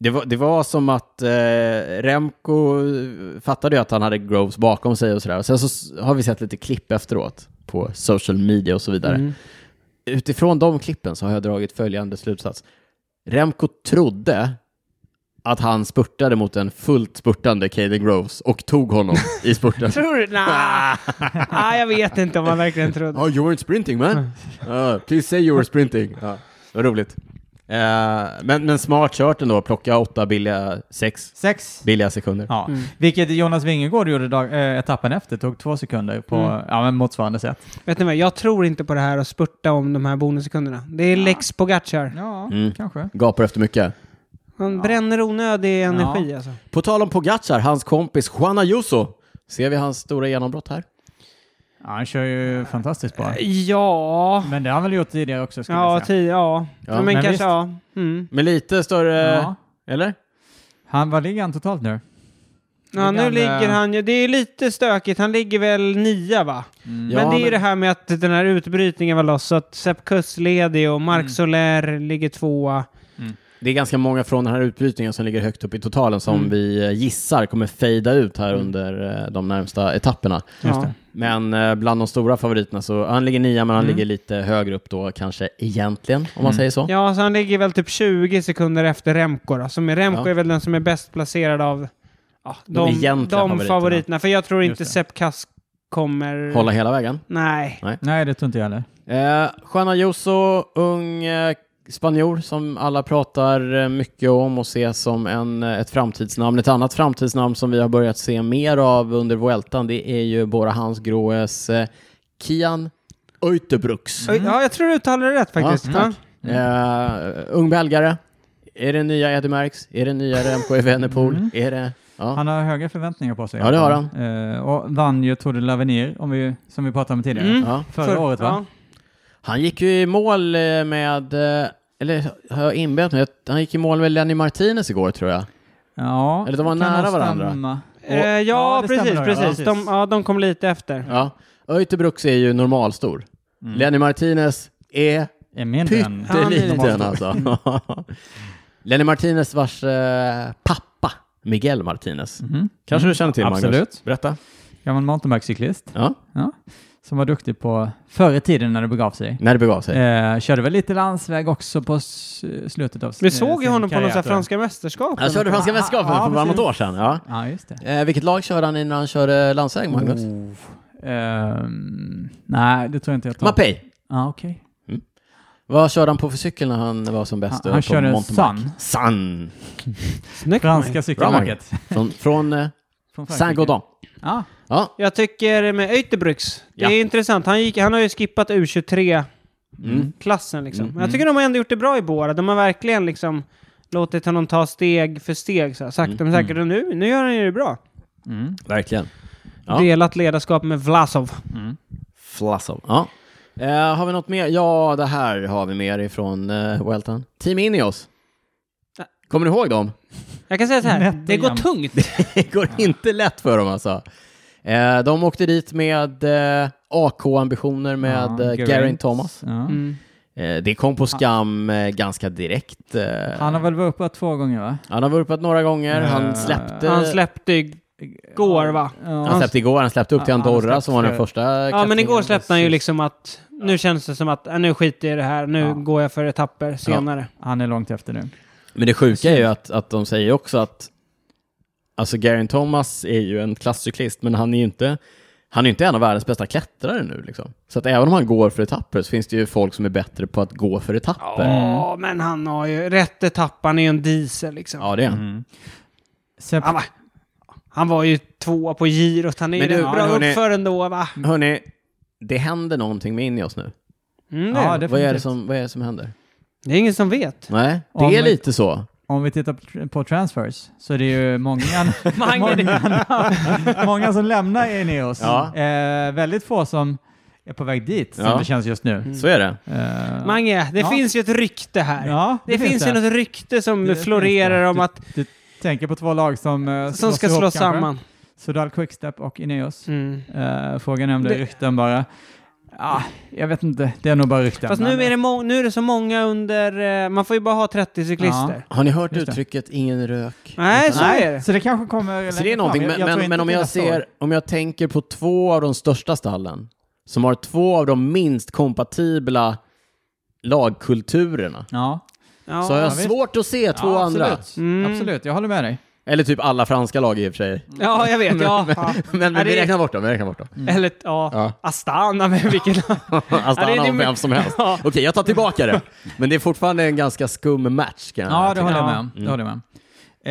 Speaker 1: det, var, det var som att eh, Remco fattade ju att han hade Groves bakom sig och sådär. Och sen så s- har vi sett lite klipp efteråt på social media och så vidare.
Speaker 2: Mm.
Speaker 1: Utifrån de klippen så har jag dragit följande slutsats. Remco trodde att han spurtade mot en fullt spurtande Caden Groves och tog honom i spurten.
Speaker 2: Tror du? Nah. ah, jag vet inte om man verkligen trodde.
Speaker 1: Oh, you weren't sprinting man. Uh, please say you were sprinting. Ja, vad roligt. Eh, men, men smart kört ändå, plocka åtta billiga, sex
Speaker 3: Sex.
Speaker 1: billiga sekunder.
Speaker 3: Ja,
Speaker 2: Mm.
Speaker 3: vilket Jonas Vingegård gjorde dag, eh, etappen efter, tog två sekunder på
Speaker 2: Mm.
Speaker 3: ja, men motsvarande sätt.
Speaker 2: Vet ni vad? Jag tror inte på det här att spurta om de här bonussekunderna. Det är Lex Pogacar.
Speaker 3: Ja,
Speaker 1: Mm.
Speaker 3: kanske.
Speaker 1: Gapar efter mycket.
Speaker 2: Han bränner onödig energi alltså.
Speaker 1: På tal om Pogacar, hans kompis Juan Ayuso. Ser vi hans stora genombrott här?
Speaker 3: Ja, han kör ju fantastiskt bra.
Speaker 2: Ja.
Speaker 3: Men det har han väl gjort tidigare också, skulle
Speaker 2: Ja,
Speaker 3: jag säga.
Speaker 2: ti- ja. ja. Men,
Speaker 1: men
Speaker 2: kanske,
Speaker 3: visst.
Speaker 2: ja. Mm.
Speaker 1: Med lite större...
Speaker 3: Ja.
Speaker 1: Eller?
Speaker 3: Han, vad ligger han totalt nu?
Speaker 2: Ja, nu
Speaker 3: Ligger han,
Speaker 2: ligger
Speaker 3: eh,
Speaker 2: han ju... Det är lite stökigt. Han ligger väl nia, va?
Speaker 1: Ja,
Speaker 2: Mm. men det är ju
Speaker 1: men-
Speaker 2: det här med att den här utbrytningen var loss. Så att Sepp Kuss ledig och Mark Soler ligger tvåa.
Speaker 1: Det är ganska många från den här utbrytningen som ligger högt upp i totalen som
Speaker 2: Mm.
Speaker 1: vi eh, gissar kommer fejda ut här under eh, de närmsta etapperna.
Speaker 2: Ja.
Speaker 3: det.
Speaker 1: Men eh, bland de stora favoriterna så, han ligger nia men han ligger lite högre upp då kanske egentligen, om man säger så.
Speaker 2: ja, så han ligger väl typ 20 sekunder efter Remco då. Som är, Remco
Speaker 1: Ja.
Speaker 2: är väl den som är bäst placerad av ja, de, de,
Speaker 1: egentliga
Speaker 2: favoriterna.
Speaker 1: favoriterna.
Speaker 2: För jag tror
Speaker 3: Just
Speaker 2: inte
Speaker 3: det.
Speaker 2: Sepp Kuss kommer...
Speaker 1: Hålla hela vägen.
Speaker 2: Nej.
Speaker 3: Nej, det tror inte jag heller.
Speaker 1: Eh, Juan Ayuso, ung eh, spanjor som alla pratar eh, mycket om och ses som en, eh, ett framtidsnamn. Ett annat framtidsnamn som vi har börjat se mer av under Vueltan, det är ju Bora Hans Groes eh, Kian Uyterbruks.
Speaker 3: Mm.
Speaker 2: Ja, jag tror du uttalade det rätt faktiskt.
Speaker 1: Ja,
Speaker 2: Ja, Mm.
Speaker 1: tack. Eh, ung belgare. Är det nya Eddie Merckx? Är det nya Remco Evenepoel?
Speaker 2: Mm.
Speaker 1: Är det... Ja.
Speaker 3: Han har höga förväntningar på sig.
Speaker 1: Ja, det har han.
Speaker 3: Eh, och vann ju Tour de l'Avenir, om vi, som vi pratade om tidigare.
Speaker 2: Mm.
Speaker 1: Ja.
Speaker 3: Förra
Speaker 2: För-
Speaker 3: året, va?
Speaker 2: ja.
Speaker 1: Han gick ju i mål eh, med... eh, Eller har jag inbillat mig? att Han gick i mål med Lenny Martinez igår tror jag.
Speaker 3: Ja,
Speaker 1: Eller de var
Speaker 3: kan
Speaker 1: nära
Speaker 3: nog
Speaker 1: varandra.
Speaker 3: stämma.
Speaker 2: Eh, ja,
Speaker 3: Ja, det
Speaker 2: precis,
Speaker 3: stämmer nog, ja.
Speaker 2: precis.
Speaker 3: Precis.
Speaker 2: De, ja, de kom lite efter.
Speaker 1: Ja. Öytebrux är ju normalstor. Lenny Martinez är
Speaker 3: Är mindre än...
Speaker 2: Han är
Speaker 1: pytteliten
Speaker 2: liten.
Speaker 1: alltså. Lenny Martinez vars eh, pappa, Miguel Martinez.
Speaker 3: Mhm.
Speaker 1: Kanske du känner till Magnus?
Speaker 3: Absolut.
Speaker 1: Berätta.
Speaker 3: Gammal mountainbikecyklist.
Speaker 1: Ja,
Speaker 3: Ja. Som var duktig på förr i tiden när det begav sig.
Speaker 1: när det begav sig.
Speaker 3: Eh, körde väl lite landsväg också på s- slutet av s-
Speaker 2: Vi
Speaker 3: eh,
Speaker 2: såg ju
Speaker 3: sin
Speaker 2: honom på
Speaker 3: karriär,
Speaker 2: några
Speaker 3: tror jag.
Speaker 2: franska mästerskap.
Speaker 1: Han körde Franska mästerskapen
Speaker 3: Ja,
Speaker 1: för bara
Speaker 3: precis.
Speaker 1: något år sedan. Ja.
Speaker 3: Ja, just det.
Speaker 1: Eh, vilket lag körde han innan han körde landsväg, Magnus?
Speaker 3: Mm. Oh. Ehm, nej, det tror jag inte jag tar.
Speaker 1: Mapei.
Speaker 3: Ja, okej.
Speaker 1: Vad körde han på för cykel när han var som bäst?
Speaker 3: Han, han
Speaker 1: på
Speaker 3: körde
Speaker 1: mountainbike?
Speaker 3: Sun,
Speaker 1: Sun!
Speaker 2: Snyggt.
Speaker 3: franska
Speaker 1: Bra, Magnus.
Speaker 3: cykelmärket.
Speaker 1: Från, från eh,
Speaker 3: Från Frankrike.
Speaker 1: Saint-Gaudin.
Speaker 3: Ja,
Speaker 1: Ja,
Speaker 2: Jag tycker med Öytebrüks, det
Speaker 1: Ja.
Speaker 2: är intressant. Han, gick, han har ju skippat U23-klassen
Speaker 1: Mm.
Speaker 2: liksom. Men jag tycker de har ändå gjort det bra i Bora. De har verkligen liksom låtit honom ta steg för steg, så här, sakta
Speaker 1: Mm,
Speaker 2: men säkert. Och nu, nu gör han ju det bra.
Speaker 3: mm.
Speaker 1: verkligen. Ja.
Speaker 2: Delat ledarskap med Vlasov.
Speaker 1: Flassov. Ja. Eh, har vi något mer? Ja, det här har vi mer ifrån eh, Welton. Team Ineos.
Speaker 2: Ja.
Speaker 1: Kommer ni ihåg dem?
Speaker 2: Jag kan säga så här,
Speaker 3: Nätt och
Speaker 2: det går
Speaker 3: jämnt.
Speaker 2: tungt.
Speaker 1: Det går inte lätt för dem alltså. Eh, de åkte dit med eh, AK-ambitioner med
Speaker 3: Ja,
Speaker 1: eh, Geraint Thomas.
Speaker 3: Ja.
Speaker 2: Mm.
Speaker 1: Eh, det kom på skam eh, ganska direkt. Eh,
Speaker 3: Han har väl vurpat två gånger va?
Speaker 1: han har vurpat några gånger,
Speaker 3: Ja.
Speaker 1: han släppte...
Speaker 2: Han släppte igår va?
Speaker 1: han
Speaker 3: Ja.
Speaker 1: släppte igår, han släppte upp till
Speaker 3: Ja, han har
Speaker 1: Andorra
Speaker 3: släppt
Speaker 1: som var den
Speaker 3: för-
Speaker 1: första
Speaker 2: Ja, men
Speaker 1: kategorin.
Speaker 2: igår släppte han ju
Speaker 3: precis.
Speaker 2: liksom att nu känns det som att äh, nu skiter jag i det här, nu
Speaker 3: Ja.
Speaker 2: går jag för etapper senare.
Speaker 3: Han är långt efter nu.
Speaker 1: Men det sjuka är ju att, att de säger också att alltså Geraint Thomas är ju en klasscyklist, men han är ju inte, han är ju inte en av världens bästa klättrare nu. Liksom. Så att även om han går för etapper så finns det ju folk som är bättre på att gå för etapper. Ja,
Speaker 2: Ja, men han har ju rätt etapp, han är ju en diesel liksom.
Speaker 1: det är han.
Speaker 3: Sep-
Speaker 2: Han, var, han var ju tvåa på girot, han är ju
Speaker 1: Men du,
Speaker 2: rätt bra
Speaker 1: hörni-
Speaker 2: uppför ändå va?
Speaker 1: Hörni, det händer någonting med Ineos nu.
Speaker 2: Mm, det,
Speaker 3: Ja,
Speaker 2: är det.
Speaker 1: Vad är, det
Speaker 3: definitivt.
Speaker 1: som, vad är det som händer?
Speaker 2: det är ingen som vet.
Speaker 1: Nej, det
Speaker 3: Om-
Speaker 1: är lite så.
Speaker 3: Om vi tittar på- på transfers så är det ju många,
Speaker 2: Mange,
Speaker 3: många, många som lämnar Ineos.
Speaker 1: Ja.
Speaker 3: Eh, väldigt få som är på väg dit,
Speaker 1: Ja.
Speaker 3: som det känns just nu.
Speaker 1: Så är det.
Speaker 3: Eh,
Speaker 2: Mange, det
Speaker 3: Ja.
Speaker 2: finns ju ett rykte här.
Speaker 3: ja,
Speaker 2: det, finns ju något rykte som
Speaker 3: Det finns
Speaker 2: florerar
Speaker 3: det.
Speaker 2: om att
Speaker 3: Du tänker på två lag som, eh,
Speaker 2: som
Speaker 3: slås
Speaker 2: ska
Speaker 3: ihop
Speaker 2: slås
Speaker 3: kanske.
Speaker 2: samman.
Speaker 3: Sudal Quickstep och Ineos.
Speaker 2: Mm.
Speaker 3: Eh, frågan är om det är
Speaker 2: Det-
Speaker 3: rykten bara. Ah, jag vet inte, det är nog bara rykten.
Speaker 2: Fast
Speaker 3: men-
Speaker 2: nu är, det må- nu är det så många under... eh, Man får ju bara ha 30 cyklister.
Speaker 1: Har ni hört
Speaker 3: Just det.
Speaker 1: uttrycket ingen rök?
Speaker 2: Nej, så
Speaker 3: Nej,
Speaker 2: är det.
Speaker 3: Så det kanske kommer
Speaker 1: Så Alltså, det
Speaker 3: längre
Speaker 1: är
Speaker 3: fram.
Speaker 1: någonting,
Speaker 3: Jag-
Speaker 1: men,
Speaker 3: jag tror
Speaker 1: men,
Speaker 3: inte
Speaker 1: men om,
Speaker 3: till
Speaker 1: jag
Speaker 3: nästa år.
Speaker 1: ser, om jag tänker på två av de största stallen, som har två av de minst kompatibla lagkulturerna,
Speaker 3: Ja,
Speaker 2: Ja.
Speaker 1: så har jag
Speaker 3: visst.
Speaker 1: svårt att se två
Speaker 3: ja
Speaker 1: andra.
Speaker 3: Absolut.
Speaker 2: Mm.
Speaker 3: absolut, jag håller med dig.
Speaker 1: Eller typ alla franska lag i och för
Speaker 3: Mm.
Speaker 1: sig.
Speaker 2: Ja, jag vet. Ja.
Speaker 1: Men,
Speaker 2: Ja,
Speaker 1: men vi
Speaker 2: det-
Speaker 1: räknar bort dem, vi räknar bort dem.
Speaker 2: Eller, ja.
Speaker 1: Ja.
Speaker 2: Astana, men vilken...
Speaker 1: Alltså,
Speaker 2: det är
Speaker 1: han har
Speaker 2: mycket-
Speaker 1: vem som helst.
Speaker 2: Ja.
Speaker 1: Okej, jag tar tillbaka det. Men det är fortfarande en ganska skum match kan jag
Speaker 3: Ja, det
Speaker 1: tycka.
Speaker 3: håller jag med om. Det håller jag med om.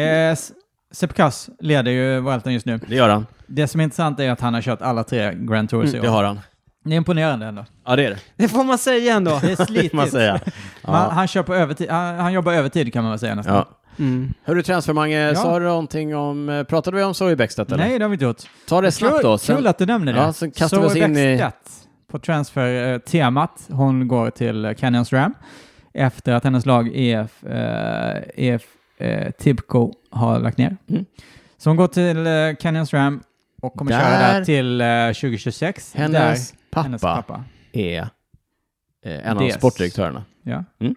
Speaker 3: Eh, S- Sepp Kuss leder ju Vueltan just nu.
Speaker 1: Det gör han.
Speaker 3: Det som är intressant är att han har kört alla tre Grand Tours i
Speaker 1: Mm, Det
Speaker 3: år.
Speaker 1: har han.
Speaker 3: Det är imponerande ändå.
Speaker 1: Ja, det är det.
Speaker 2: Det får man säga ändå.
Speaker 3: Det är
Speaker 1: Det får man
Speaker 3: slitigt.
Speaker 1: säga.
Speaker 3: Man, han, kör på övertid, han, han jobbar övertid kan man väl säga nästan.
Speaker 1: Ja.
Speaker 2: Mm.
Speaker 1: Hörru transfermange,
Speaker 3: Ja.
Speaker 1: sa du någonting om... Pratade vi om Zoe Bäckstedt eller?
Speaker 3: Nej, det har vi inte gjort.
Speaker 1: Ta det snabbt då.
Speaker 3: Kul,
Speaker 1: sen-
Speaker 3: kul att du nämner det.
Speaker 1: Ja, så kastar vi oss
Speaker 3: Zoe
Speaker 1: in i-
Speaker 3: Bäckstedt på transfertemat. Hon går till eh, Canyons Ram efter att hennes lag EF, eh, EF eh, Tibco har lagt ner.
Speaker 1: Mm.
Speaker 3: Så hon går till eh, Canyons Ram och kommer
Speaker 1: Där-
Speaker 3: köra där till eh, 2026.
Speaker 1: Hennes,
Speaker 3: där,
Speaker 1: pappa
Speaker 3: hennes pappa.
Speaker 1: är eh, en av
Speaker 3: Dels.
Speaker 1: sportdirektörerna.
Speaker 3: Ja.
Speaker 1: Mm.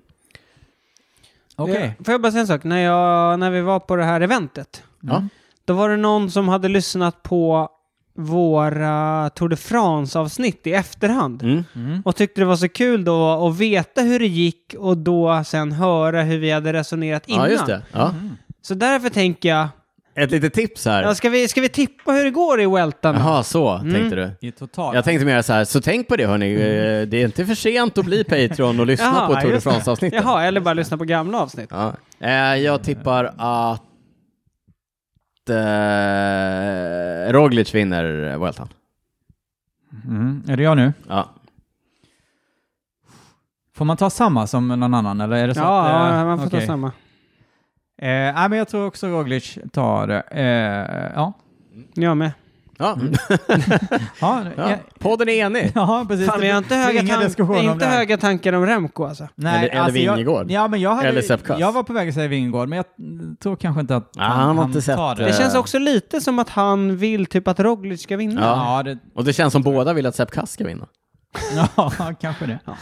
Speaker 3: Okej.
Speaker 2: Jag- Får jag bara säga en sak? När, jag, när vi var på det här eventet,
Speaker 1: Ja.
Speaker 2: då var det någon som hade lyssnat på våra Tour de France-avsnitt i efterhand.
Speaker 1: Mm.
Speaker 3: Mm.
Speaker 2: Och tyckte det var så kul då att veta hur det gick och då sen höra hur vi hade resonerat innan.
Speaker 1: Ja, just det.
Speaker 3: Mm.
Speaker 1: Ja.
Speaker 2: Så därför tänker jag,
Speaker 1: Ett litet tips
Speaker 2: ja,
Speaker 1: här.
Speaker 2: ska, vi, ska vi tippa hur det går i Weltan?
Speaker 1: Jaha, så
Speaker 3: Mm.
Speaker 1: tänkte du.
Speaker 3: I totalt.
Speaker 1: Jag tänkte mer så här, så tänk på det hörni, Eh, det är inte för sent att bli Patreon och lyssna
Speaker 2: Jaha,
Speaker 1: på Tour de
Speaker 3: Mm. just det.
Speaker 1: France-avsnittet.
Speaker 2: Jaha, eller bara lyssna på gamla avsnitt.
Speaker 1: Ja. Eh, jag tippar att eh, Roglic vinner Vueltan.
Speaker 3: Mm. Är det jag nu?
Speaker 1: Ja.
Speaker 3: Får man ta samma som någon annan eller är det så
Speaker 2: Ja,
Speaker 3: att, eh,
Speaker 2: ja, man får ta
Speaker 3: okej.
Speaker 2: samma.
Speaker 3: Eh, nej, men jag tror också Roglic tar det. Eh, ja.
Speaker 2: Jag med.
Speaker 1: Ja.
Speaker 3: Ja,
Speaker 1: ja,
Speaker 3: Mm. ja.
Speaker 1: podden är enig.
Speaker 3: ja, precis.
Speaker 2: Fan, men jag har inte,
Speaker 3: Det blir
Speaker 2: höga,
Speaker 3: ingen
Speaker 2: tank-
Speaker 3: diskussion om
Speaker 2: inte
Speaker 3: det här.
Speaker 2: höga tankar om Remco alltså.
Speaker 3: Nej,
Speaker 1: Eller- eller
Speaker 3: jag-
Speaker 1: Vingegård.
Speaker 3: Ja, men jag, hade,
Speaker 1: Eller Sepp Kuss.
Speaker 3: jag var på väg att säga Vingegård, men jag tror kanske inte att
Speaker 1: Ja, han har inte sett
Speaker 3: tar
Speaker 1: det.
Speaker 2: Det känns
Speaker 1: Eh.
Speaker 2: också lite som att han vill typ att Roglic ska vinna.
Speaker 1: Ja.
Speaker 3: Ja, det,
Speaker 1: Och det känns som båda vill att Sepp Kass ska vinna.
Speaker 3: ja kanske det. Ja.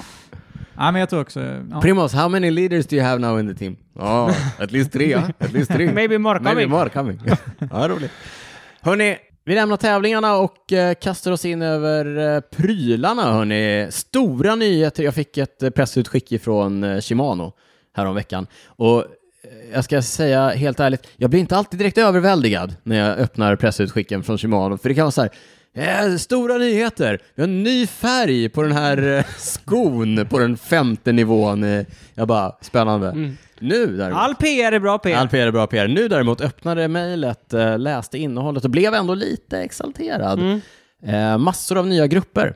Speaker 3: men jag tror också... Ja.
Speaker 1: Primus, how many leaders do you have now in the team? Ja, at least tre. ja. At least tre.
Speaker 2: Maybe more
Speaker 1: Maybe
Speaker 2: coming.
Speaker 1: more coming. ja, roligt. Hörni, vi lämnar tävlingarna och eh, kastar oss in över eh, prylarna, hörni. Stora nyheter. Jag fick ett eh, pressutskick ifrån eh, Shimano häromveckan. Och eh, jag ska säga helt ärligt, jag blir inte alltid direkt överväldigad när jag öppnar pressutskicken från Shimano, för det kan vara så här Eh, stora nyheter! Vi har en ny färg på den här eh, skon på den femte nivån. eh. Jag bara, spännande. Nu däremot.
Speaker 2: All PR är bra PR.
Speaker 1: All PR är bra PR. Nu däremot öppnade mejlet, eh, läste innehållet och blev ändå lite exalterad. Eh, Massor av nya grupper.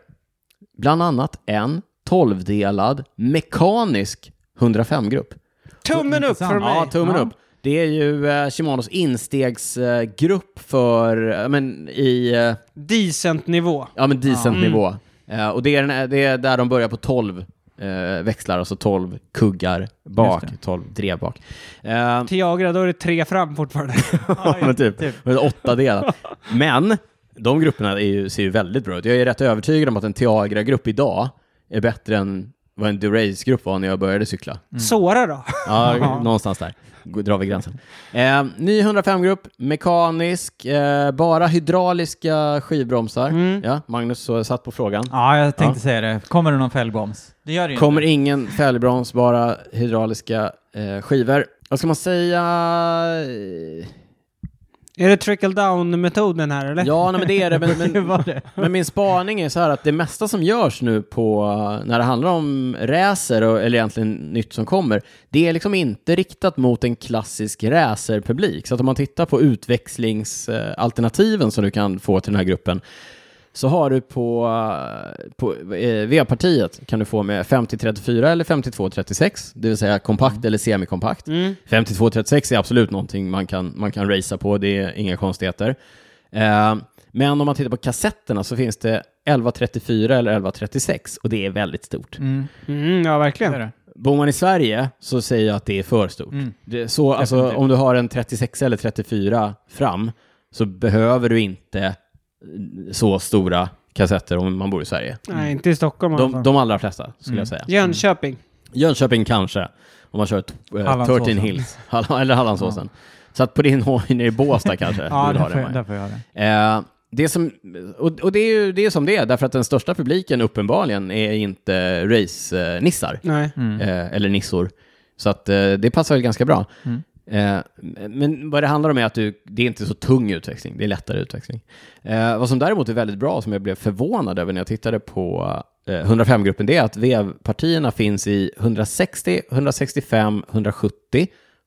Speaker 1: Bland annat en 12-delad mekanisk 105-grupp.
Speaker 2: Tummen upp
Speaker 3: Intressant.
Speaker 2: från mig.
Speaker 1: Ja, tummen
Speaker 3: Ja.
Speaker 1: upp. Det är ju eh, Shimanos instegsgrupp för, eh, men i, eh,
Speaker 2: Decent nivå.
Speaker 1: ja men decent nivå.
Speaker 3: Mm.
Speaker 1: Eh, och det är, den, det är där de börjar på 12 eh, växlar, alltså 12 kuggar bak,
Speaker 3: Just det.
Speaker 1: 12 drev bak. Eh,
Speaker 2: Tiagra, då är det tre fram fortfarande.
Speaker 1: Ja, men typ. Men åtta delar. Men de grupperna är ju, ser ju väldigt bra ut. Jag är rätt övertygad om att en Tiagra-grupp idag är bättre än vad en Durace-grupp var när jag började cykla.
Speaker 2: Såra då?
Speaker 1: Ja, någonstans där Gå- drar vi gränsen. Eh, ny 105-grupp, mekanisk, eh, bara hydrauliska skivbromsar. Ja, Magnus så satt på frågan.
Speaker 3: Mm. Ja, jag tänkte säga det. Kommer det någon fällbroms? Det gör det ju
Speaker 1: Kommer ingen fälgbroms, bara hydrauliska eh, skivor. Vad ska man säga?
Speaker 2: Är det trickle down-metoden här eller?
Speaker 1: Ja, nej, men det är det. Men,
Speaker 3: inte.
Speaker 1: men,
Speaker 3: Var det?
Speaker 1: Men min spaning är så här att det mesta som görs nu på, när det handlar om racer, och- eller egentligen nytt som kommer, det är liksom inte riktat mot en klassisk racerpublik. Så att om man tittar på utvecklingsalternativen som du kan få till den här gruppen, så har du på, eh, på eh, V-partiet kan du få med 50-34 eller 52-36, det vill säga
Speaker 3: Mm.
Speaker 1: kompakt eller semikompakt.
Speaker 2: Mm.
Speaker 1: 52-36 är absolut någonting man kan, man kan racea på, det är inga konstigheter. Eh, men om man tittar på kassetterna så finns det 11.34 eller 11.36 och det är väldigt stort.
Speaker 3: Mm,
Speaker 2: Mm, ja,
Speaker 3: det
Speaker 2: verkligen.
Speaker 3: är det.
Speaker 1: Bor man i Sverige så säger jag att det är för stort.
Speaker 3: Mm.
Speaker 1: Det, så alltså,
Speaker 3: Definitivt.
Speaker 1: om du har en 36 eller 34 fram så behöver du inte eh, så stora kassetter om man bor i Sverige.
Speaker 2: Nej, inte i Stockholm
Speaker 1: De,
Speaker 2: alltså.
Speaker 1: de allra flesta skulle
Speaker 3: Mm.
Speaker 1: jag säga.
Speaker 2: Jönköping.
Speaker 1: Jönköping kanske, om man kör eh,
Speaker 3: Hallandsåsen.
Speaker 1: 13 Hills, Hall- eller Hallandsåsen. Så att på din hoj nere i Båstad kanske
Speaker 3: Ja,
Speaker 1: du vill
Speaker 3: där
Speaker 1: ha
Speaker 3: får,
Speaker 1: den.
Speaker 3: jag,
Speaker 1: Maja.
Speaker 3: där får jag det.
Speaker 1: Eh, det som, och, och det är ju det är som det är, därför att den största publiken uppenbarligen är inte race-nissar,
Speaker 2: Nej.
Speaker 1: eh, eller nissor. Så att eh, det passar väl ganska bra. Eh, men vad det handlar om är att du, det är inte så tung utväxling, det är lättare utväxling. Eh, vad som däremot är väldigt bra, som jag blev förvånad över när jag tittade på eh, 105-gruppen, det är att vevpartierna finns i 160, 165, 170,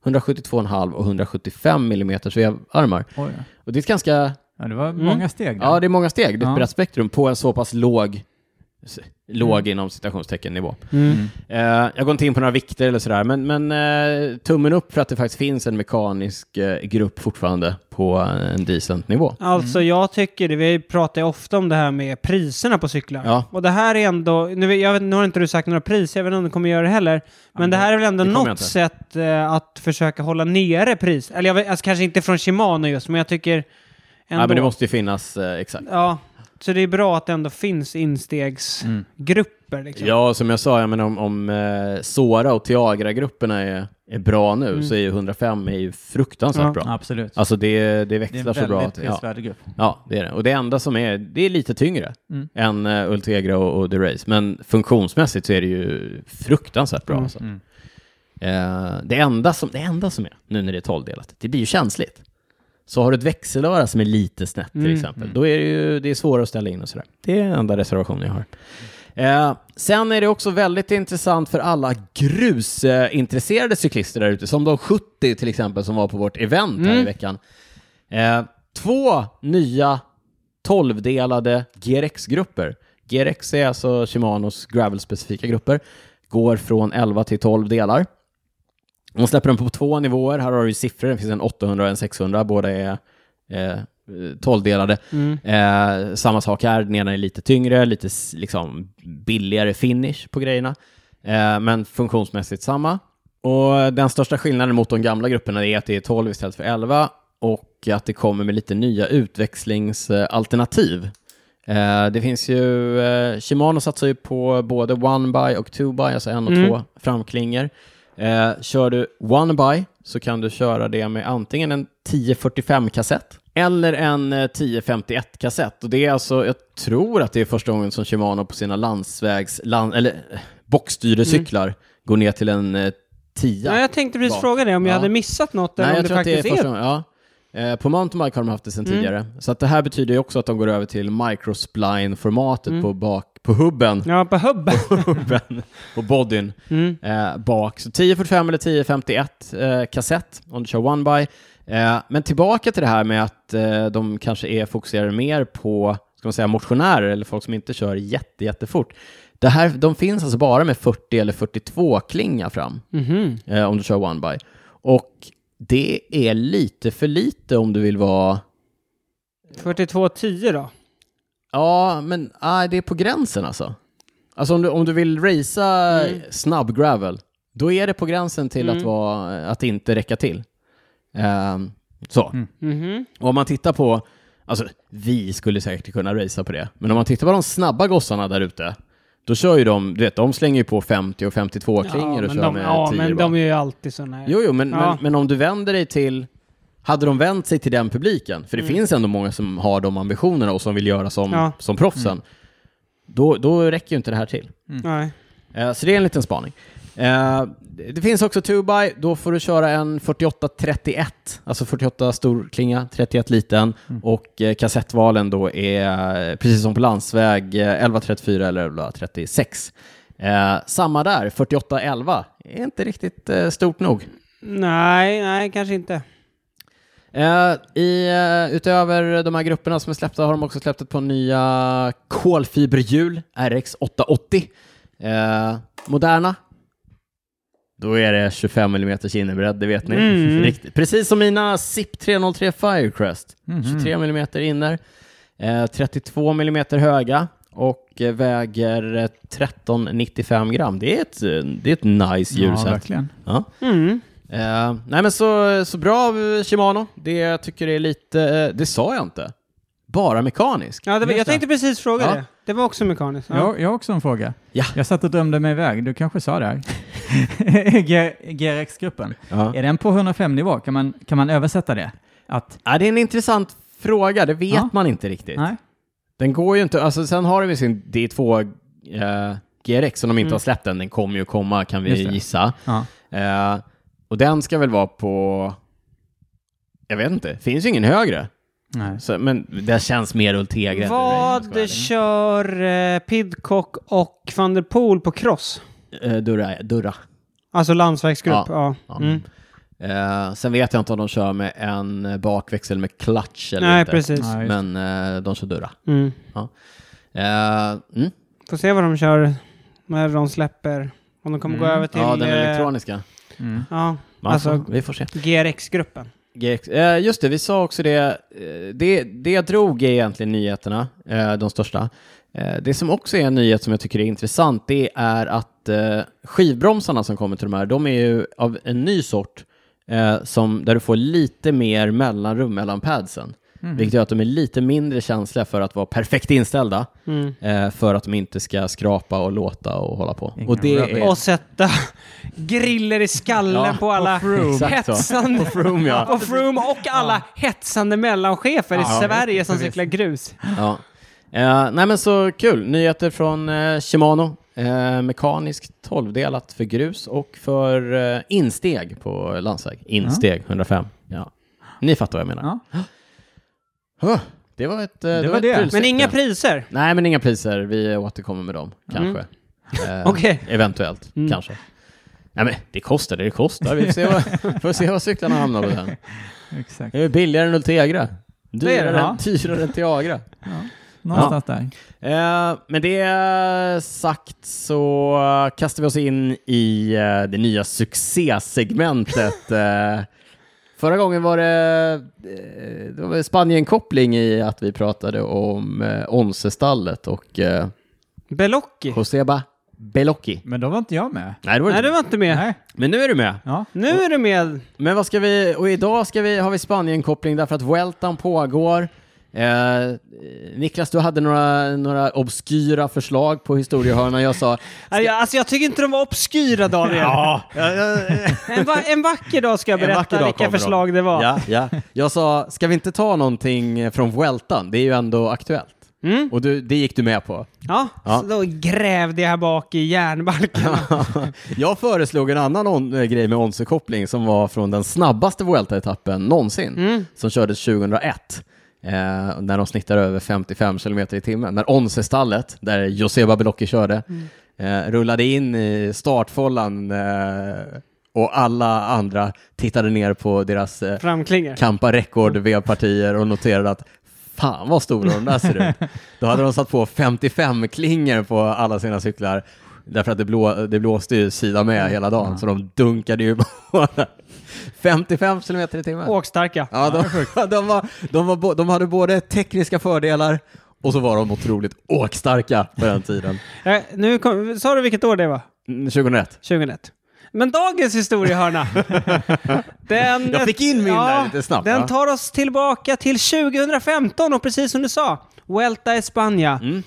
Speaker 1: 172,5 och 175 mm vevarmar.
Speaker 3: Oj, ja.
Speaker 1: Och det är ett ganska
Speaker 3: ja, det var många steg där.
Speaker 1: Mm. Ja, det är många steg. Det är ett
Speaker 3: Ja.
Speaker 1: brett spektrum på en så pass låg, s- låg
Speaker 3: Mm.
Speaker 1: inom citationstecken nivå. Eh, jag går inte in på några vikter eller sådär, men, men eh, tummen upp för att det faktiskt finns en mekanisk eh, grupp fortfarande på en decent nivå.
Speaker 2: Alltså jag tycker det, vi pratar ju ofta om det här med priserna på cyklar.
Speaker 1: Ja.
Speaker 2: Och det här är ändå, nu, vet- jag vet, nu har inte du sagt några priser, jag vet inte om du kommer göra det heller. Men det här är väl ändå
Speaker 1: det kommer jag
Speaker 2: något
Speaker 1: inte.
Speaker 2: sätt eh, att försöka hålla nere pris. Eller jag vet, alltså, kanske inte från Shimano just, men jag tycker ändå...
Speaker 1: Ja, men det måste ju finnas, eh, exakt.
Speaker 2: Ja, så det är bra att det ändå finns
Speaker 3: Mm.
Speaker 2: instegsgrupper. Liksom.
Speaker 1: Ja, som jag sa, jag menar, om, om eh, Sora och Tiagra-grupperna är, är bra nu
Speaker 3: Mm.
Speaker 1: så är ju 105 är ju fruktansvärt
Speaker 2: Ja.
Speaker 1: bra.
Speaker 3: Absolut.
Speaker 1: Alltså det, det
Speaker 3: det är en
Speaker 1: växlar så bra.
Speaker 3: väldigt
Speaker 1: att- ja.
Speaker 3: prisvärd grupp.
Speaker 1: Ja, det är det. Och det enda som är, det är lite tyngre än uh, Ultegra och, och The Race. Men funktionsmässigt så är det ju fruktansvärt bra. Alltså. Eh, det, enda som, det enda som är, nu när det är 12-delat, det blir ju känsligt. Så har du ett växelöra som är lite snett till exempel, då är det ju det är svårare att ställa in och sådär. Det är den enda reservationen jag har. Eh, sen är det också väldigt intressant för alla grusintresserade cyklister där ute, som de 70 till exempel som var på vårt event här i veckan. Eh, två nya 12-delade GRX-grupper. GRX är alltså Shimanos gravel-specifika grupper. Går från 11 till 12 delar. De släpper den på två nivåer. Här har du ju siffror. Det finns en 800 och en 600. Båda är eh, 12-delade. Eh, samma sak här. Den ena är lite tyngre, lite s- liksom, billigare finish på grejerna. Eh, men funktionsmässigt samma. Och den största skillnaden mot de gamla grupperna är att det är 12 istället för 11 och att det kommer med lite nya utväxlingsalternativ. Eh, Det finns ju, eh, Shimano satsar ju på både one by och two by, alltså en och två framklingor. Eh, Kör du one by så kan du köra det med antingen en 1045-kassett eller en eh, 1051-kassett. Och det är alltså, jag tror att det är första gången som Shimano på sina landsvägs, land, eller eh, bockstyrecyklar går ner till en eh, 10.
Speaker 2: Ja, jag tänkte precis
Speaker 1: Bak.
Speaker 2: fråga dig om jag
Speaker 1: Ja.
Speaker 2: hade missat något eller
Speaker 1: Nej,
Speaker 2: om
Speaker 1: jag
Speaker 2: det
Speaker 1: tror att det är
Speaker 2: faktiskt är, Mm.
Speaker 1: första gången. Ja. Eh, På mountainbike
Speaker 2: Mm.
Speaker 1: har de haft det sedan tidigare. Så att det här betyder ju också att de går över till microspline-formatet på, bak, på hubben,
Speaker 2: Ja, på hubben.
Speaker 1: hubben på bodyn
Speaker 2: Mm.
Speaker 1: eh, bak. Så 10.45 eller 10.51 eh, kassett om du kör one-by. Eh, men tillbaka till det här med att eh, de kanske är fokuserade mer på ska man säga, motionärer eller folk som inte kör jätte, jättefort. Det här, de finns alltså bara med 40 eller 42 klinga fram
Speaker 2: Mhm.
Speaker 1: eh, om du kör one by. Och det är lite för lite om du vill vara...
Speaker 2: 42.10 då.
Speaker 1: Ja, men nej, det är på gränsen alltså. Alltså om du, om du vill racea
Speaker 2: Mm.
Speaker 1: snabb gravel, då är det på gränsen till att, vara, att inte räcka till. Ehm, så.
Speaker 2: Mhm.
Speaker 1: Och om man tittar på, alltså vi skulle säkert kunna racea på det, men om man tittar på de snabba gossarna där ute, då kör ju de, du vet, de slänger ju på 50 och 52 klingor och
Speaker 2: men
Speaker 1: kör
Speaker 2: de,
Speaker 1: med
Speaker 2: ja,
Speaker 1: 10
Speaker 2: men
Speaker 1: bara.
Speaker 2: de är ju alltid så nära.
Speaker 1: Jo, jo men,
Speaker 2: Ja.
Speaker 1: men, men om du vänder dig till... Hade de vänt sig till den publiken, för det finns ändå många som har de ambitionerna och som vill göra som,
Speaker 2: Mm. Ja. Mm.
Speaker 1: som proffsen, då, då räcker ju inte det här till.
Speaker 2: Nej.
Speaker 1: Eh, så det är en liten spaning. Eh, det det finns också 2-by, då får du köra en 48-31, alltså 48 stor klinga, 31 liten,
Speaker 2: Mm.
Speaker 1: och eh, kassettvalen då är, eh, precis som på landsväg, eh, 11-34 eller 11-36. Eh, samma där, 48-11, är inte riktigt eh, stort nog.
Speaker 2: nej, nej, kanske inte.
Speaker 1: Eh, i, eh, utöver de här grupperna som är släppta har de också släppt ett par nya kolfiberhjul, RX 880. Eh, moderna. Då är det 25 mm innerbredd, det vet ni.
Speaker 2: Mm.
Speaker 1: Riktigt. Precis som mina SIP 303 Firecrest.
Speaker 3: Mhm.
Speaker 1: 23 mm inner, eh, 32 mm höga och eh, väger eh, 1395 gram. Det är ett, eh, det är ett nice
Speaker 3: Ja,
Speaker 1: hjulset.
Speaker 3: verkligen.
Speaker 1: Ja.
Speaker 2: Mm.
Speaker 1: Eh, nej men så, så bra eh, Shimano. Det jag tycker är lite, eh, det sa jag inte. Bara mekanisk.
Speaker 2: Ja, det, var-
Speaker 3: Just
Speaker 2: jag
Speaker 3: det.
Speaker 2: tänkte precis fråga
Speaker 1: Ja.
Speaker 2: det. Det var också mekaniskt. Ja.
Speaker 3: Jag, jag har också en fråga.
Speaker 1: Ja.
Speaker 3: Jag satt och drömde mig iväg. Du kanske sa det här. G- GRX-gruppen.
Speaker 1: Ja.
Speaker 3: Är den på 105 nivå? Kan man, kan man översätta det? Att,
Speaker 1: Ja, det är en intressant fråga, det vet
Speaker 3: Ja.
Speaker 1: man inte riktigt.
Speaker 3: nej?
Speaker 1: Den går ju inte, alltså sen har de ju sin D2 eh, GRX som de inte
Speaker 2: Mm.
Speaker 1: har släppt än, den kommer ju komma kan vi
Speaker 3: Just det.
Speaker 1: gissa.
Speaker 3: Ja.
Speaker 1: Eh, och den ska väl vara på, jag vet inte, finns ju ingen högre.
Speaker 3: nej.
Speaker 1: Så, men det känns mer Ultegra. än Durai, om
Speaker 2: Vad
Speaker 1: jag ska
Speaker 2: kör eh, Pidcock och van der Poel på cross?
Speaker 1: vara ärlig. Eh, Durra, Durra.
Speaker 2: Alltså landsvägsgrupp. Ja.
Speaker 1: Ja.
Speaker 2: Mm.
Speaker 1: Eh, sen vet jag inte om de kör med en bakväxel med clutch eller
Speaker 2: Nej,
Speaker 1: inte.
Speaker 2: precis.
Speaker 3: Nej. just det.
Speaker 1: Men eh, de kör dörra.
Speaker 2: Mm.
Speaker 1: Eh, mm.
Speaker 2: Får se vad de kör när de släpper. Om de kommer gå
Speaker 3: Mm.
Speaker 2: över till...
Speaker 1: Ja, den
Speaker 2: eh,
Speaker 1: elektroniska.
Speaker 3: Mm.
Speaker 2: Ja,
Speaker 1: Man
Speaker 2: alltså-
Speaker 1: får, vi får se.
Speaker 2: GRX-gruppen.
Speaker 1: GX. Eh, just det, vi sa också det. eh, det. Det jag drog är egentligen nyheterna, eh, de största. Eh, det som också är en nyhet som jag tycker är intressant, det är att eh, skivbromsarna som kommer till de här, de är ju av en ny sort, eh, som, där du får lite mer mellanrum mellan padsen.
Speaker 2: Mm.
Speaker 1: Vilket gör att de är lite mindre känsliga för att vara perfekt inställda,
Speaker 2: Mm.
Speaker 1: eh, för att de inte ska skrapa och låta och hålla på.
Speaker 3: Inga
Speaker 1: Och det
Speaker 3: rubber.
Speaker 1: är...
Speaker 2: Och sätta griller i skallen
Speaker 1: Ja,
Speaker 2: på alla
Speaker 1: på Froome. Exakt så.
Speaker 2: hetsande...
Speaker 1: På Froome, ja.
Speaker 2: på Froome och alla hetsande mellanchefer
Speaker 1: Ja,
Speaker 2: i Sverige
Speaker 3: visst,
Speaker 2: som
Speaker 3: visst.
Speaker 2: cyklar grus.
Speaker 1: Ja. Eh, nej men så kul, nyheter från eh, Shimano. Eh, mekaniskt 12-delat för grus och för eh, insteg på landsväg. Insteg 105. Ja. Ni fattar vad jag menar.
Speaker 3: Ja.
Speaker 1: Huh, Det var ett, eh, det var
Speaker 3: det.
Speaker 1: ett prylsätt,
Speaker 2: Men inga
Speaker 1: ja.
Speaker 2: priser.
Speaker 1: Nej, men inga priser. Vi återkommer med dem, kanske. Eh,
Speaker 2: Mm. Okej. Mm.
Speaker 1: Eventuellt, kanske. Nej, men det kostar det det kostar. Vi får se vad, får se vad cyklarna hamnar på sen.
Speaker 3: Exakt.
Speaker 1: Det är billigare än Ultegra.
Speaker 2: är det,
Speaker 1: Dyrare,
Speaker 3: ja.
Speaker 1: än- dyrare än Tiagra.
Speaker 3: Någonstans där.
Speaker 1: Eh, men det sagt så eh, kastar vi oss in i eh, det nya succésegmentet. eh, förra gången var det, eh, det var Spanien-koppling i att vi pratade om eh, Onsestallet och eh,
Speaker 2: Belocchi.
Speaker 1: Joseba Belocchi.
Speaker 3: Men då var inte jag med.
Speaker 1: Nej, det var det
Speaker 2: Nej, du
Speaker 1: inte.
Speaker 2: var inte med.
Speaker 3: Nej.
Speaker 1: Men nu är du med.
Speaker 3: Ja.
Speaker 2: Nu är du med.
Speaker 1: Men vad ska vi, och idag ska vi, har vi Spanien-koppling därför att Vueltan pågår. Eh, Niklas, du hade några, några obskyra förslag på historiehörnan. Jag sa,
Speaker 2: Nej, jag- Alltså jag tycker inte de var obskyra Daniel. En, va en vacker dag ska jag
Speaker 1: En vacker
Speaker 2: berätta
Speaker 1: dag
Speaker 2: vilka
Speaker 1: kommer de.
Speaker 2: förslag det var.
Speaker 1: Ja, ja. Jag sa, ska vi inte ta någonting från Vueltan? Det är ju ändå aktuellt.
Speaker 2: Mm.
Speaker 1: Och du, det gick du med på.
Speaker 2: Ja,
Speaker 1: Ja.
Speaker 2: Så då grävde jag här bak i järnbalken.
Speaker 1: jag föreslog en annan on- eh, grej med
Speaker 2: Mm.
Speaker 1: Onse-koppling som var från den snabbaste Vuelta-etappen någonsin, som kördes 2001. eh, när de snittar över 55 km i timmen. När Onsestallet, där Joseba Belocchi körde,
Speaker 2: Mm.
Speaker 1: eh, rullade in i startfållan eh, och alla andra tittade ner på deras eh,
Speaker 2: Framklingar.
Speaker 1: kampa rekord V-partier och noterade att fan vad stora de där ser ut. Då hade de satt på 55 klingor på alla sina cyklar därför att det, blå, det blåste ju sida med hela dagen så de dunkade ju på 55 kilometer i timmen.
Speaker 2: Åkstarka.
Speaker 1: Ja, de, de, var, de, var, bo- de hade både tekniska fördelar och så var de otroligt åkstarka på den tiden.
Speaker 2: Eh, nu kom, sa du vilket år det var?
Speaker 1: Mm, 2001.
Speaker 2: 2001. Men dagens historiehörna. den,
Speaker 1: Jag fick in min där lite snabbt,
Speaker 2: Den
Speaker 1: va?
Speaker 2: tar oss tillbaka till 2015 och precis som du sa, Vuelta España.
Speaker 1: Mm.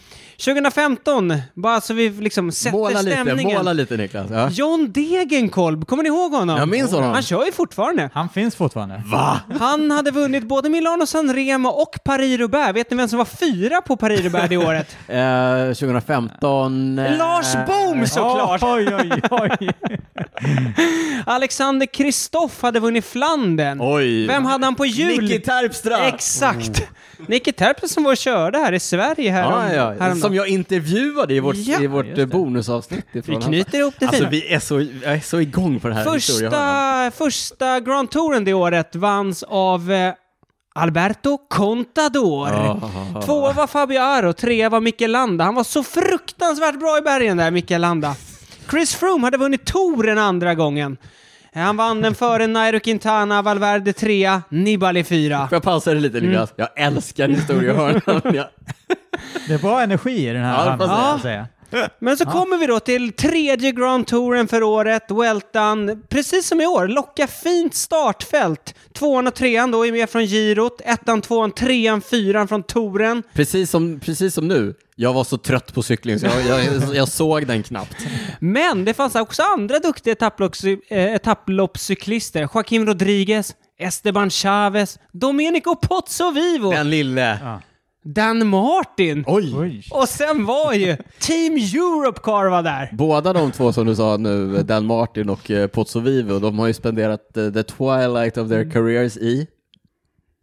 Speaker 2: 2015, bara så vi liksom sätter
Speaker 1: Måla lite,
Speaker 2: stämningen.
Speaker 1: måla lite Niklas. Ja.
Speaker 2: John Degenkolb, kommer ni ihåg honom?
Speaker 1: Jag minns honom.
Speaker 2: Han kör ju fortfarande.
Speaker 3: Han finns fortfarande.
Speaker 1: Va?
Speaker 2: Han hade vunnit både Milano San Remo och Paris-Roubaix. Vet ni vem som var fyra på Paris-Roubaix det året?
Speaker 1: Eh, 2015. eh,
Speaker 2: Lars Boom såklart!
Speaker 3: Oj, oj, oj.
Speaker 2: Alexander Kristoff hade vunnit Flandern.
Speaker 1: Oj.
Speaker 2: Vem hade han på jul?
Speaker 1: Nicky Terpstra!
Speaker 2: Exakt! Nicky Terpstra som var och körde här i Sverige här
Speaker 1: Mm. Ja, ja, ja. Som jag intervjuade i vårt,
Speaker 2: Ja,
Speaker 1: i vårt
Speaker 3: just det.
Speaker 1: bonusavsnitt. ifrån
Speaker 2: Vi
Speaker 1: Hansa.
Speaker 2: knyter ihop det
Speaker 1: Alltså
Speaker 2: fina.
Speaker 1: vi är så, jag är så igång på det här historiehörnan.
Speaker 2: Första, första Grand Touren det året vanns av eh, Alberto Contador.
Speaker 1: Ah.
Speaker 2: Tvåa var Fabio Aro, trea var Mikael Landa. Han var så fruktansvärt bra i bergen där, Mikael Landa. Chris Froome hade vunnit touren andra gången. Eh, Han vann den före Nairo Quintana, Valverde trea, Nibali fyra.
Speaker 1: Får jag pausa det lite
Speaker 2: Mm.
Speaker 1: Niklas? Jag älskar historiehörnan. Jag-
Speaker 3: Det är bra energi i den
Speaker 1: Ja,
Speaker 3: här ja,
Speaker 1: fast-
Speaker 3: ska
Speaker 2: Ja.
Speaker 3: jag säga.
Speaker 2: Men så kommer vi då till tredje Grand Touren för året, Weltan. Precis som i år, locka fint startfält. Tvåan och trean då är med från girot, ettan, tvåan, trean, fyran från touren.
Speaker 1: Precis som, precis som nu, jag var så trött på cykling så jag, jag, jag såg den knappt.
Speaker 2: Men det fanns också andra duktiga etapplopps- eh, etapploppscyklister. Joaquim Rodriguez, Esteban Chavez, Domenico Pozzo Vivo,
Speaker 1: Den lille.
Speaker 2: Dan Martin.
Speaker 1: Oj!
Speaker 3: Oj.
Speaker 2: Och sen var ju Team Europe Car var där.
Speaker 1: Båda de två som du sa nu, Dan Martin och eh, Pozzo Vivo, de har ju spenderat eh, the twilight of their careers i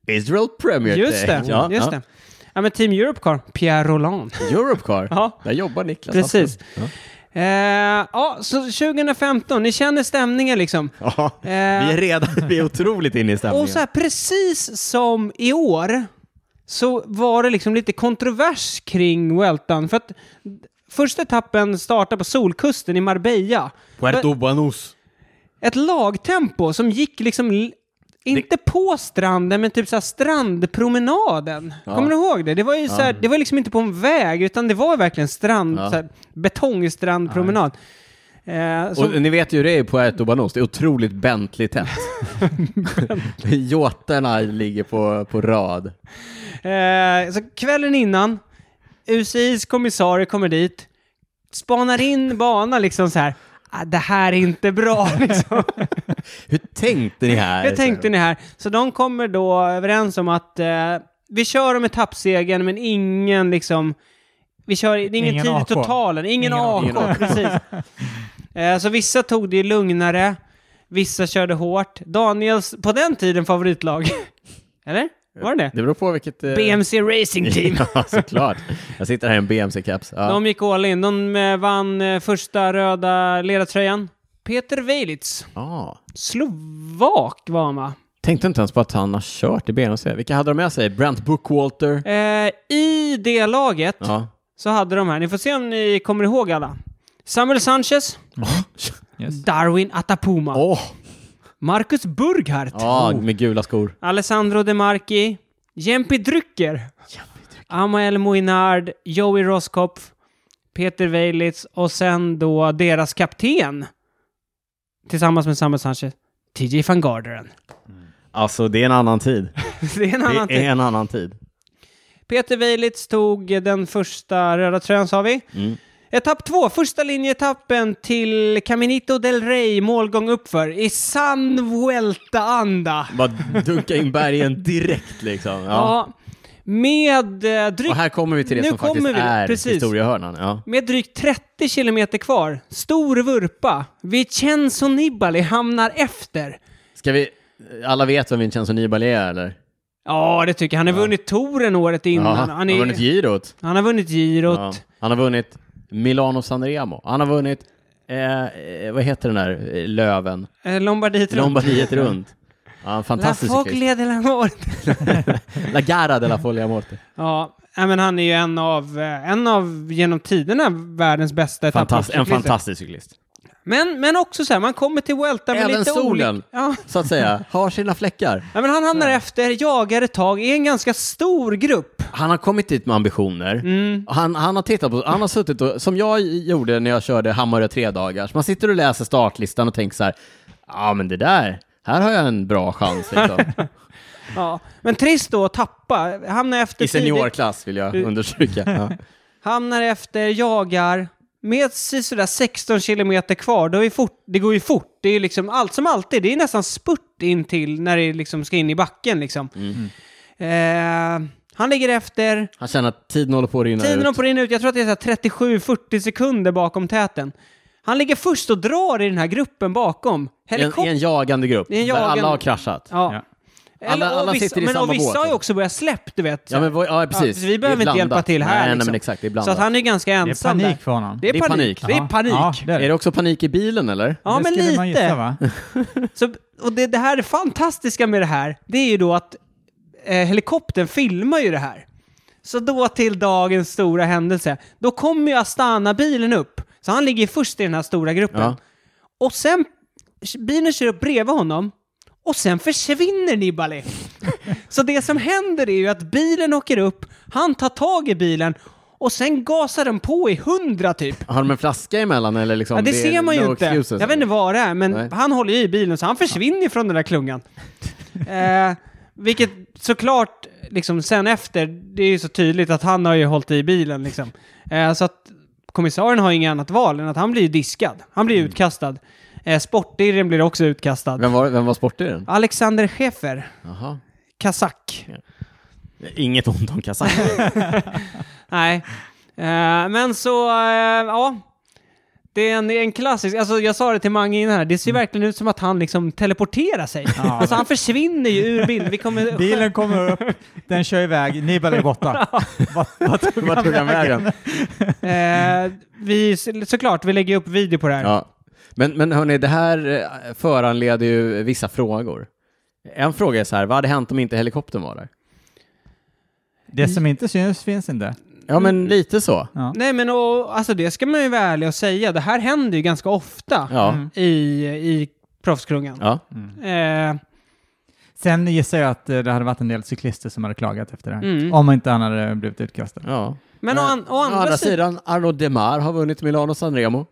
Speaker 1: Israel Premier
Speaker 2: Mm. Just
Speaker 1: League.
Speaker 2: det, just det. Ja men Team Europe Car, Pierre Roland.
Speaker 1: Europcar,
Speaker 2: Ja.
Speaker 1: där jobbar Niklas.
Speaker 2: Precis.
Speaker 1: Ja.
Speaker 2: Eh, ja, så 2015, ni känner stämningen liksom.
Speaker 1: Ja, vi
Speaker 2: Eh.
Speaker 1: är redan, vi är otroligt inne i stämningen.
Speaker 2: Och så här, precis som i år så var det liksom lite kontrovers kring Weltan. För att första etappen startar på Solkusten i Marbella.
Speaker 1: Puerto Banús.
Speaker 2: Ett lagtempo som gick liksom l- inte på stranden, men typ så här strandpromenaden. Kommer du ihåg det? Det var ju så här, det var liksom inte på en väg, utan det var verkligen strand,
Speaker 1: Ja.
Speaker 2: så här, betongstrandpromenad. Eh, så-
Speaker 1: Och ni vet ju hur det är i Puerto Banús, det är otroligt Bentley-tätt. Jåtarna ligger på, på rad.
Speaker 2: Eh, så kvällen innan, UCIs kommissarie kommer dit, spanar in banan liksom så här. "Ah, Det här är inte bra. Liksom.
Speaker 1: Hur tänkte ni här?
Speaker 2: Hur tänkte ni här? Så de kommer då överens om att eh, vi kör om etappsegern men ingen liksom... Vi kör, det är ingen,
Speaker 3: Ingen
Speaker 2: tid i
Speaker 3: AK.
Speaker 2: totalen. Ingen,
Speaker 3: Ingen
Speaker 2: AK,
Speaker 1: Ingen AK.
Speaker 2: precis. Eh, så vissa tog det lugnare, vissa körde hårt. Daniels, på den tiden, favoritlag. Eller? Var det det?
Speaker 1: Det beror på vilket... eh,
Speaker 2: BMC Racing Team.
Speaker 1: ja, såklart. Jag sitter här i en BMC-keps. Ja.
Speaker 2: De gick all in. De eh, vann eh, första röda ledartröjan. Peter Velits.
Speaker 1: Ah.
Speaker 2: Slovak var han va?
Speaker 1: Tänkte inte ens på att han har kört i BMC. Vilka hade de med sig? Brent Bookwalter?
Speaker 2: Eh, I det laget
Speaker 1: Ja.
Speaker 2: så hade de här, ni får se om ni kommer ihåg alla. Samuel Sanchez,
Speaker 3: Just.
Speaker 2: Darwin Atapuma,
Speaker 1: Åh!
Speaker 2: Marcus Burghardt,
Speaker 1: Ja, med gula skor.
Speaker 2: Alessandro De Marchi, Jempi Drycker, Amael Moinard, Joey Roskopf, Peter Weilitz och sen då deras kapten tillsammans med Samuel Sanchez, TJ van Garderen.
Speaker 1: Alltså, det är en annan tid.
Speaker 2: Det är en annan
Speaker 1: Det är
Speaker 2: tid.
Speaker 1: en annan tid.
Speaker 2: Peter Weilitz tog den första röda tröjan sa vi.
Speaker 1: Mm.
Speaker 2: Etapp två, första linjeetappen till Caminito del Rey, målgång uppför i sann Vuelta-anda.
Speaker 1: Bara dunka in bergen direkt liksom. Ja.
Speaker 2: Ja. Med eh, drygt
Speaker 1: Och här kommer vi till det
Speaker 2: Nu
Speaker 1: som faktiskt
Speaker 2: kommer vi.
Speaker 1: är
Speaker 2: Precis.
Speaker 1: historiehörnan. Ja.
Speaker 2: Med drygt 30 kilometer kvar, stor vurpa, Vincenzo Nibali hamnar efter.
Speaker 1: Ska vi, alla vet vem Vincenzo Nibali är eller?
Speaker 2: Ja, det tycker jag. Han har vunnit touren året
Speaker 1: Ja,
Speaker 2: innan.
Speaker 1: han,
Speaker 2: Mm, han,
Speaker 1: har
Speaker 2: är,
Speaker 1: vunnit girot.
Speaker 2: han har vunnit girot.
Speaker 1: Ja. Han har vunnit Milano Sanremo. Han har vunnit, eh, eh, vad heter den där eh, löven?
Speaker 2: Eh, Lombardiet runt.
Speaker 1: Lombardiet runt. Ja, en
Speaker 2: La
Speaker 1: fantastisk cyklist.
Speaker 2: Foglia de la Morte.
Speaker 1: La Gara della Foglia Morte.
Speaker 2: Ja, nej, men han är ju en av, eh, en av genom tiderna världens bästa
Speaker 1: Fantast, en
Speaker 2: etapploppscyklister.
Speaker 1: fantastisk cyklist.
Speaker 2: Men, men också så här, man kommer till Vuelta med
Speaker 1: Även
Speaker 2: lite
Speaker 1: solen.
Speaker 2: olika... Ja.
Speaker 1: Så att säga, har sina fläckar.
Speaker 2: Ja, men han hamnar efter, jagar ett tag, är en ganska stor grupp.
Speaker 1: Han har kommit dit med ambitioner.
Speaker 2: Mm.
Speaker 1: Han, han har tittat på, han har suttit och, som jag gjorde när jag körde Hammarö tre dagar. man sitter och läser startlistan och tänker så här, ja men det där, här har jag en bra chans liksom.
Speaker 2: Ja. Men trist då att tappa, hamnar efter
Speaker 1: I
Speaker 2: tidigt,
Speaker 1: seniorklass vill jag understryka. Ja.
Speaker 2: hamnar efter, jagar. Med sådär 16 kilometer kvar, då är fort, det går ju fort. Det är ju liksom allt som alltid, det är nästan spurt in till när det liksom ska in i backen liksom.
Speaker 1: Mm.
Speaker 2: Eh, han ligger efter,
Speaker 1: Han känner att tiden håller på att rinna
Speaker 2: Tiden
Speaker 1: ut.
Speaker 2: de på rinner ut, jag tror att det är så här 37-40 sekunder bakom täten. Han ligger först och drar i den här gruppen bakom.
Speaker 1: I en, I
Speaker 2: Helikopter...
Speaker 1: en jagande grupp,
Speaker 2: I en
Speaker 1: där
Speaker 2: jagande-
Speaker 1: alla har kraschat.
Speaker 2: Ja. Eller,
Speaker 1: Alla- alla
Speaker 2: och vissa,
Speaker 1: sitter i
Speaker 2: men,
Speaker 1: samma
Speaker 2: och vissa
Speaker 1: båt.
Speaker 2: har ju också börjat släppa, du vet.
Speaker 1: Ja, men, vad- ja precis.
Speaker 2: Ja, vi behöver
Speaker 1: Det är
Speaker 2: inte hjälpa
Speaker 1: blandat.
Speaker 2: till här,
Speaker 1: Nej, nej
Speaker 2: liksom.
Speaker 1: men exakt, det är
Speaker 2: så
Speaker 1: blandat.
Speaker 2: att han är ganska
Speaker 3: Det är
Speaker 2: ensam
Speaker 3: panik
Speaker 2: där.
Speaker 3: för honom.
Speaker 2: Det är panik. Det är
Speaker 3: Ja.
Speaker 2: panik.
Speaker 3: Ja, det är det.
Speaker 1: Är det också panik i bilen eller?
Speaker 2: Ja, men
Speaker 3: skulle man gissa,
Speaker 2: lite.
Speaker 3: va?
Speaker 2: Så, och det, det här är fantastiska med det här, det är ju då att eh, helikoptern filmar ju det här. Så då till dagens stora händelse. Då kommer ju Astana-bilen upp. Så han ligger först i den här stora gruppen.
Speaker 1: Ja.
Speaker 2: Och sen, bilen kör upp bredvid honom. Och sen försvinner Nibali. Så det som händer är ju att bilen åker upp, han tar tag i bilen och sen gasar den på i hundra typ.
Speaker 1: Har de en flaska emellan eller liksom?
Speaker 2: Ja, det,
Speaker 1: är
Speaker 2: ser man ju
Speaker 1: no
Speaker 2: inte.
Speaker 1: excuses?
Speaker 2: Jag vet inte vad det är, men
Speaker 1: Nej.
Speaker 2: han håller ju i bilen så han försvinner ju från den där klungan. eh, vilket såklart, liksom sen efter, det är ju så tydligt att han har ju hållit i bilen liksom. Eh, så att kommissarien har ju inget annat val än att han blir ju diskad. Han blir ju
Speaker 1: Mm.
Speaker 2: utkastad. Eh, Sportdirren blir också utkastad.
Speaker 1: Vem var, vem var sportdelen?
Speaker 2: Alexander Schäfer,
Speaker 1: Jaha.
Speaker 2: kazack.
Speaker 1: Inget ont om kassan.
Speaker 2: Nej. Eh, men så, eh, ja. Det är en, det är en klassisk, alltså jag sa det till Mange innan här, det ser verkligen ut som att han liksom teleporterar sig.
Speaker 3: Ja.
Speaker 2: alltså han försvinner ju ur bild. Vi kommer...
Speaker 3: Bilen kommer upp, den kör iväg, Nibali är borta. Vart- vart tog
Speaker 1: Vart tog han vägen?
Speaker 2: Eh, vi, såklart, vi lägger upp video på det här.
Speaker 1: Ja. Men, men hörni, det här eh, föranleder ju vissa frågor. En fråga är så här, vad hade hänt om inte helikoptern var där?
Speaker 3: Det som inte syns finns inte.
Speaker 1: Ja, men lite så.
Speaker 3: Ja.
Speaker 2: Nej men och, alltså det ska man ju vara ärlig och säga, det här händer ju ganska ofta
Speaker 1: Ja.
Speaker 3: Mm.
Speaker 2: i, i proffskrungan.
Speaker 1: ja.
Speaker 2: Eh,
Speaker 3: Sen gissar jag att eh, det hade varit en del cyklister som hade klagat efter det här.
Speaker 2: Mm.
Speaker 3: Om inte han hade blivit utkastad.
Speaker 1: ja.
Speaker 2: men å, an, å andra,
Speaker 1: andra
Speaker 2: sidan
Speaker 1: sidan, Arnaud Demar har vunnit Milano Sanremo.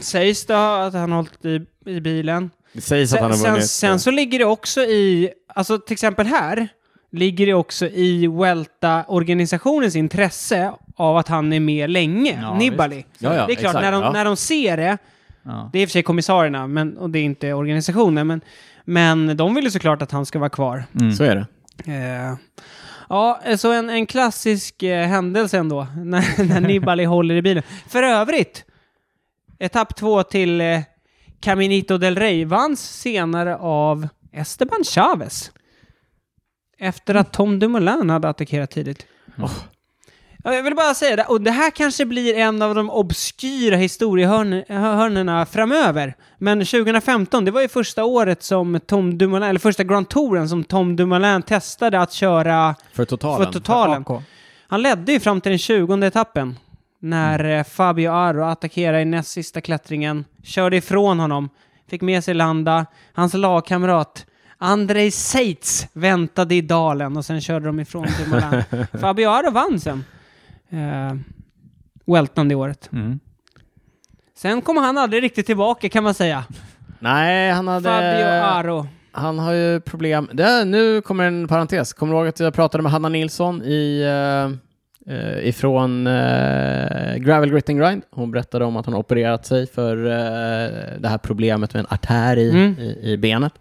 Speaker 2: sägs det att han har hållit i, i bilen.
Speaker 1: Det sägs att han
Speaker 2: Sen,
Speaker 1: har
Speaker 2: sen,
Speaker 1: vunnit.
Speaker 2: sen så ligger det också i, alltså till exempel här, ligger det också i Welta-organisationens intresse av att han är med länge,
Speaker 3: Ja,
Speaker 2: Nibali.
Speaker 1: Ja, ja,
Speaker 2: det är
Speaker 1: exakt,
Speaker 2: klart, när, de,
Speaker 1: ja.
Speaker 2: när de ser det,
Speaker 3: Ja.
Speaker 2: det är i och för sig kommissarierna men, och det är inte organisationen, men, men de vill ju såklart att han ska vara kvar.
Speaker 3: Mm.
Speaker 1: Så är det.
Speaker 2: Eh, ja, så en, en klassisk eh, händelse ändå, när, när Nibali håller i bilen. För övrigt, etapp två till eh, Caminito del Rey vanns senare av Esteban Chavez. Efter att Tom Dumoulin hade attackerat tidigt.
Speaker 1: Mm.
Speaker 2: Ja, Jag vill bara säga det, och det här kanske blir en av de obskyra historiehörnorna framöver. Men 2015, det var ju första året som Tom Dumoulin, eller första Grand Touren som Tom Dumoulin testade att köra
Speaker 1: För totalen.
Speaker 2: för totalen.
Speaker 3: AK.
Speaker 2: Han ledde ju fram till den 20 etappen. När eh, Fabio Aro attackerade i näst sista klättringen, körde ifrån honom, fick med sig Landa, hans lagkamrat Andrei Seitz väntade i dalen och sen körde de ifrån Dumoulin. Fabio Aro vann sen. Eh, Welton det året.
Speaker 3: Mm.
Speaker 2: Sen kom han aldrig riktigt tillbaka kan man säga.
Speaker 1: Nej, han hade...
Speaker 2: Fabio Aro.
Speaker 1: Han har ju problem. Det, nu kommer en parentes. Kommer du ihåg att jag pratade med Hanna Nilsson i, eh, eh, ifrån eh, Gravel Grit and Grind? Hon berättade om att hon har opererat sig för eh, det här problemet med en artär i,
Speaker 2: Mm.
Speaker 1: i, i benet.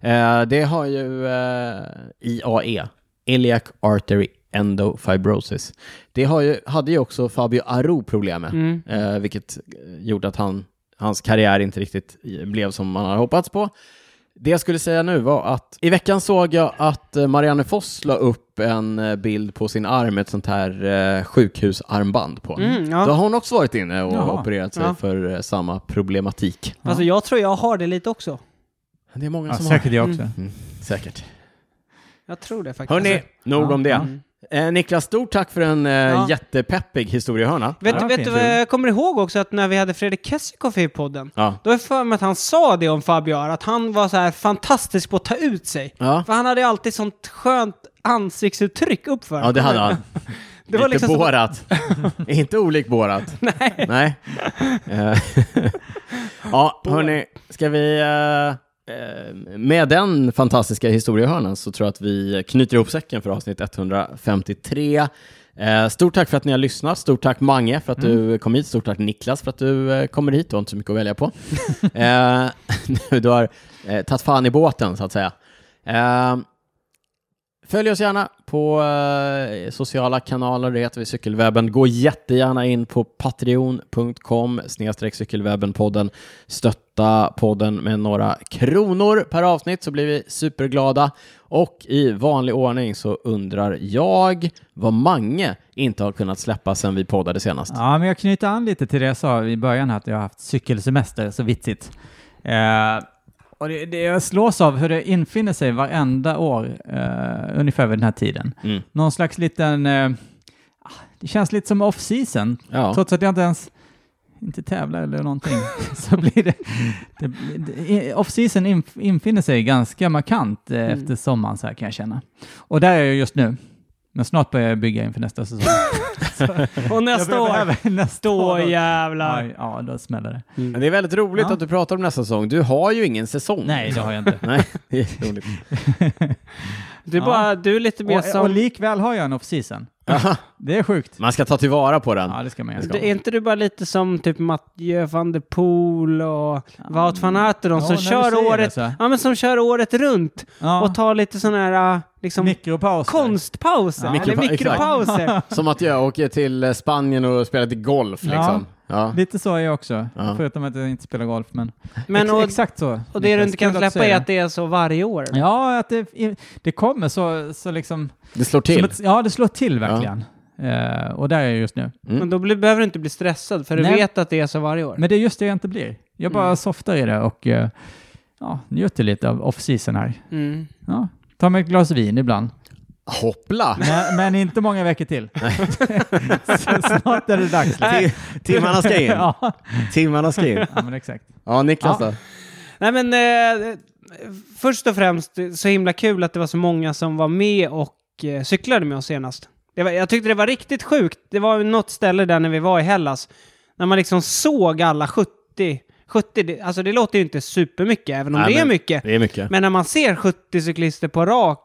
Speaker 1: Eh, det har ju eh, IAE, Iliac Artery Endofibrosis. Det har ju, hade ju också Fabio Aro problem med.
Speaker 2: Mm.
Speaker 1: Eh, vilket eh, gjorde att han, hans karriär inte riktigt eh, blev som man hade hoppats på. Det jag skulle säga nu var att i veckan såg jag att eh, Marianne Foss la upp en eh, bild på sin arm, ett sånt här eh, sjukhusarmband på.
Speaker 2: Mm,
Speaker 1: Då
Speaker 2: ja.
Speaker 1: har hon också varit inne och
Speaker 3: Jaha.
Speaker 1: opererat sig
Speaker 2: Ja.
Speaker 1: för eh, samma problematik.
Speaker 2: Alltså jag tror jag har det lite också.
Speaker 1: Det är många
Speaker 3: Ja,
Speaker 1: som
Speaker 3: säkert jag
Speaker 2: Mm.
Speaker 3: också.
Speaker 1: har. Säkert.
Speaker 2: Jag tror det faktiskt.
Speaker 1: Hörni,
Speaker 2: Alltså,
Speaker 1: nog
Speaker 3: Ja.
Speaker 1: om det.
Speaker 3: Mm.
Speaker 1: Eh, Niklas, stort tack för en eh,
Speaker 2: Ja.
Speaker 1: jättepeppig historiehörna.
Speaker 2: vet,
Speaker 3: Ja,
Speaker 2: du- vet
Speaker 3: okej,
Speaker 2: du vad jag kommer ihåg också att när vi hade Fredrik Kessikoff i podden,
Speaker 1: Ja.
Speaker 2: då är jag för mig att han sa det om Fabiar, att han var så här fantastisk på att ta ut sig.
Speaker 1: Ja.
Speaker 2: För han hade alltid sånt skönt ansiktsuttryck uppför.
Speaker 1: ja, det hade han.
Speaker 2: Det
Speaker 1: Lite
Speaker 2: var liksom som-
Speaker 1: Borat. Inte olik Borat.
Speaker 2: Nej.
Speaker 1: Nej. Eh, ja, hörni, ska vi... eh, eh, Med den fantastiska historiehörnan så tror jag att vi knyter ihop säcken för avsnitt 153. Eh, Stort tack för att ni har lyssnat. Stort tack Mange för att
Speaker 2: Mm.
Speaker 1: du kom hit. Stort tack Niklas för att du eh, kommer hit. Du har inte så mycket att välja på. Eh, nu, du har eh, tagit fan i båten, så att säga. Eh, Följ oss gärna på eh, sociala kanaler, det heter vi Cykelwebben. Gå jättegärna in på patreon.com snedstreck cykelwebbenpodden. Stötta podden med några kronor per avsnitt så blir vi superglada. Och i vanlig ordning så undrar jag vad Mange inte har kunnat släppa sedan vi poddade senast.
Speaker 3: Ja, men jag knyter an lite till det jag sa i början här, att jag har haft cykelsemester, så vitsigt. Eh, och det, det jag slås av hur det infinner sig varenda år, eh, ungefär vid den här tiden.
Speaker 1: Mm.
Speaker 3: Någon slags liten... Eh, ah, det känns lite som off-season,
Speaker 1: Ja.
Speaker 3: trots att jag inte ens inte tävlar eller någonting. så blir det... det, det off-season inf, infinner sig ganska markant eh,
Speaker 2: Mm.
Speaker 3: efter sommaren, så här kan jag känna. Och där är jag just nu. Men snart börjar jag bygga inför nästa säsong.
Speaker 2: Och
Speaker 3: Jag
Speaker 2: nästa år,
Speaker 3: behöver- nästa
Speaker 2: då
Speaker 3: år. då-
Speaker 2: jävlar. Mm.
Speaker 3: Aj, ja, då smäller det.
Speaker 1: Men det är väldigt roligt
Speaker 3: Ja.
Speaker 1: att du pratar om nästa säsong. Du har ju ingen säsong.
Speaker 3: Nej, det har jag inte.
Speaker 1: Nej, det är roligt.
Speaker 2: Du, är
Speaker 3: Ja.
Speaker 2: bara, du är lite mer
Speaker 3: och, och
Speaker 2: som...
Speaker 3: likväl har jag en off-season.
Speaker 1: Aha.
Speaker 3: Det är sjukt.
Speaker 1: Man ska ta tillvara på den.
Speaker 3: Ja, det ska man göra.
Speaker 2: Är inte du bara lite som typ Mathieu van der Poel och Wout van Aert och de
Speaker 3: Ja,
Speaker 2: som
Speaker 3: när du
Speaker 2: kör
Speaker 3: säger det
Speaker 2: året...
Speaker 3: så.
Speaker 2: Ja, men som kör året runt
Speaker 3: Ja.
Speaker 2: och tar lite sådana här äh, liksom
Speaker 3: Mikropauser.
Speaker 2: konstpauser,
Speaker 1: Ja.
Speaker 2: eller
Speaker 1: Mikropa-
Speaker 2: mikropauser.
Speaker 1: Som att jag åker till eh, Spanien och spelar till golf
Speaker 3: Ja.
Speaker 1: liksom. Ja.
Speaker 3: Lite så är jag också.
Speaker 1: Ja.
Speaker 3: Förutom att jag inte spelar golf. Men,
Speaker 2: Men
Speaker 3: Ex-
Speaker 2: och,
Speaker 3: exakt så.
Speaker 2: och det du inte kan
Speaker 3: Kul att
Speaker 2: släppa
Speaker 3: säga
Speaker 2: är att det är så varje år.
Speaker 3: Ja, Mm. att det, det kommer så, så liksom...
Speaker 1: Det slår
Speaker 3: som
Speaker 1: till.
Speaker 3: Ett, ja, det slår till verkligen. Eh, och där är jag just nu.
Speaker 2: Men då blir, behöver du inte bli stressad, för du
Speaker 3: Nej.
Speaker 2: vet att det är så varje år.
Speaker 3: Men det är just det jag inte blir. Jag bara
Speaker 2: Mm.
Speaker 3: softar i det och eh, ja, njuter lite av off-season här.
Speaker 2: Mm.
Speaker 3: Ja. Tar mig ett glas vin ibland.
Speaker 1: Hoppla!
Speaker 3: Men, men inte många veckor till. Så Snart är det dags. Liksom.
Speaker 1: Ti- Timmarna ska in.
Speaker 3: Ja.
Speaker 1: Timmarna ska in.
Speaker 3: ja, men exakt.
Speaker 1: Ja, Niklas
Speaker 3: Ja.
Speaker 1: då?
Speaker 2: Nej men, eh, eh, först och främst så himla kul att det var så många som var med och eh, cyklade med oss senast. Det var, jag tyckte det var riktigt sjukt. Det var ju något ställe där när vi var i Hellas, när man liksom såg alla 70, 70, det, alltså det låter ju inte supermycket, även om
Speaker 1: Nej,
Speaker 2: det är
Speaker 1: men-
Speaker 2: mycket.
Speaker 1: Det är mycket.
Speaker 2: Men när man ser 70 cyklister på rak,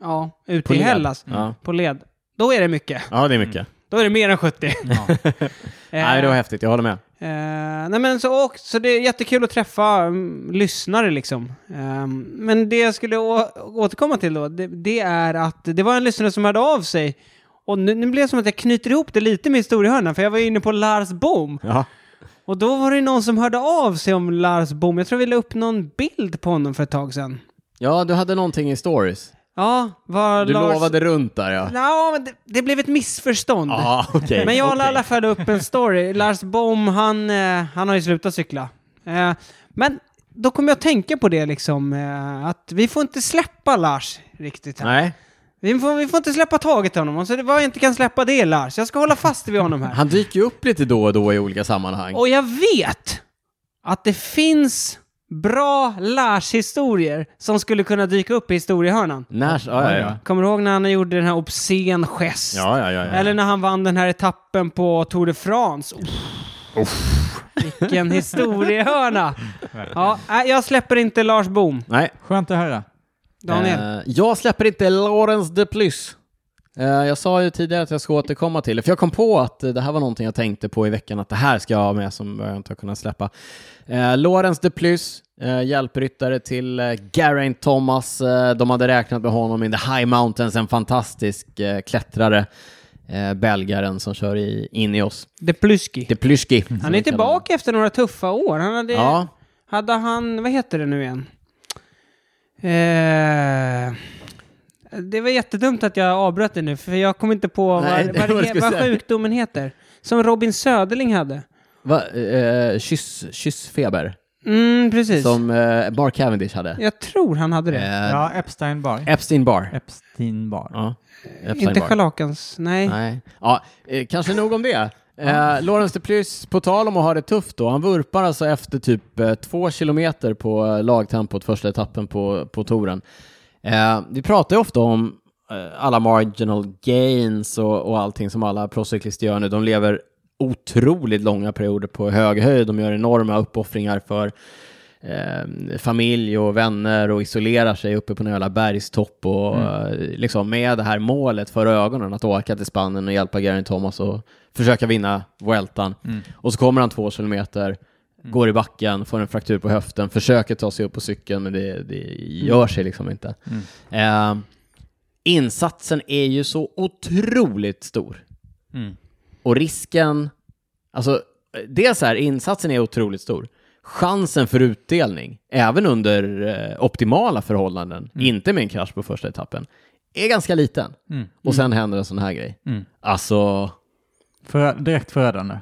Speaker 2: ja, ute
Speaker 1: På
Speaker 2: i
Speaker 1: led.
Speaker 2: Hellas,
Speaker 1: Ja.
Speaker 2: på led, då är det mycket.
Speaker 1: ja, det är mycket.
Speaker 2: Då är det mer än 70.
Speaker 3: Ja.
Speaker 1: Nej, det var häftigt. Jag håller med.
Speaker 2: Eh, nej men så, och, så det är jättekul att träffa mm, lyssnare liksom. Eh, men det jag skulle å- återkomma till då, det, det är att det var en lyssnare som hörde av sig. Och nu, nu blev det som att jag knyter ihop det lite med historiehörnan, för jag var ju inne på Lars Boom.
Speaker 1: Ja.
Speaker 2: Och då var det någon som hörde av sig om Lars Boom. Jag tror vi la upp någon bild på honom för ett tag sedan.
Speaker 1: ja, du hade någonting i stories.
Speaker 2: Ja, vad
Speaker 1: Du
Speaker 2: Lars...
Speaker 1: lovade runt där ja.
Speaker 2: Ja, men det, det blev ett missförstånd.
Speaker 1: Ja, okej.
Speaker 2: Men jag la i
Speaker 1: Okej.
Speaker 2: alla fall upp en story. Lars Bohm, han, eh, han har ju slutat cykla. Eh, men då kom jag att tänka på det liksom, eh, att vi får inte släppa Lars riktigt. Här.
Speaker 1: Nej,
Speaker 2: Vi, får, vi får inte släppa taget om honom. Så det var jag inte kan släppa det är Lars. Jag ska hålla fast vid honom här.
Speaker 1: han dyker ju upp lite då och då i olika sammanhang.
Speaker 2: Och jag vet att det finns bra Lars-historier som skulle kunna dyka upp i historiehörnan.
Speaker 1: När, ja, ja, ja.
Speaker 2: Kommer du ihåg när han gjorde den här obscen gest?
Speaker 1: Ja, ja, ja, ja.
Speaker 2: Eller när han vann den här etappen på Tour de France. Uff. Vilken historiehörna! ja, nej, jag släpper inte Lars Bohm,
Speaker 1: Nej.
Speaker 3: Skönt att höra.
Speaker 2: Daniel.
Speaker 1: Eh, jag släpper inte Lawrence de Plus. Eh, jag sa ju tidigare att jag ska återkomma till det, för jag kom på att eh, det här var någonting jag tänkte på i veckan, att det här ska jag ha med som jag inte har kunnat släppa. Eh, Lawrence de Plus, eh, hjälpryttare till eh, Geraint Thomas. Eh, de hade räknat med honom in the High Mountains, en fantastisk eh, klättrare. Eh, belgaren som kör i, in i oss.
Speaker 2: De Plusky.
Speaker 1: De Plusky.
Speaker 2: Han är tillbaka efter några tuffa år. Han hade,
Speaker 1: Ja,
Speaker 2: hade han, vad heter det nu igen? Eh, det var jättedumt att jag avbröt det nu, för jag kom inte på
Speaker 1: Nej, vad
Speaker 2: vad, vad,
Speaker 1: du
Speaker 2: det,
Speaker 1: skulle
Speaker 2: vad
Speaker 1: säga.
Speaker 2: sjukdomen heter. Som Robin Söderling hade.
Speaker 1: Va? Eh, kyss, kyssfeber,
Speaker 2: Mm, precis.
Speaker 1: som eh, Bar Cavendish hade.
Speaker 2: Jag tror han hade det.
Speaker 1: Eh,
Speaker 3: Ja, Epstein bar.
Speaker 1: Epstein Bar.
Speaker 3: Epstein bar.
Speaker 1: Ja. Epstein
Speaker 2: inte
Speaker 1: Barr.
Speaker 2: schalakans, nej.
Speaker 1: Nej. Ja, eh, kanske nog om det. Eh, Lawrence de Plus, på tal om att ha det tufft då, han vurpar alltså efter typ eh, två kilometer på eh, lagtempot, första etappen på, på touren. Eh, vi pratar ju ofta om eh, alla marginal gains och, och allting som alla proffscyklister gör nu. De lever otroligt långa perioder på hög höjd, de gör enorma uppoffringar för eh, familj och vänner och isolerar sig uppe på någon jävla bergstopp och eh, liksom med det här målet för ögonen att åka till Spanien och hjälpa Geraint Thomas och försöka vinna Vueltan. Och så kommer han två kilometer, går i backen, får en fraktur på höften, försöker ta sig upp på cykeln men det, det gör sig liksom inte. Eh, insatsen är ju så otroligt stor.
Speaker 3: Mm.
Speaker 1: Och risken, alltså dels här, insatsen är otroligt stor. Chansen för utdelning, även under eh, optimala förhållanden, inte med en krasch på första etappen, är ganska liten.
Speaker 3: Mm.
Speaker 1: Och sen händer en sån här grej.
Speaker 3: Mm.
Speaker 1: Alltså,
Speaker 3: Förö- direkt förödande.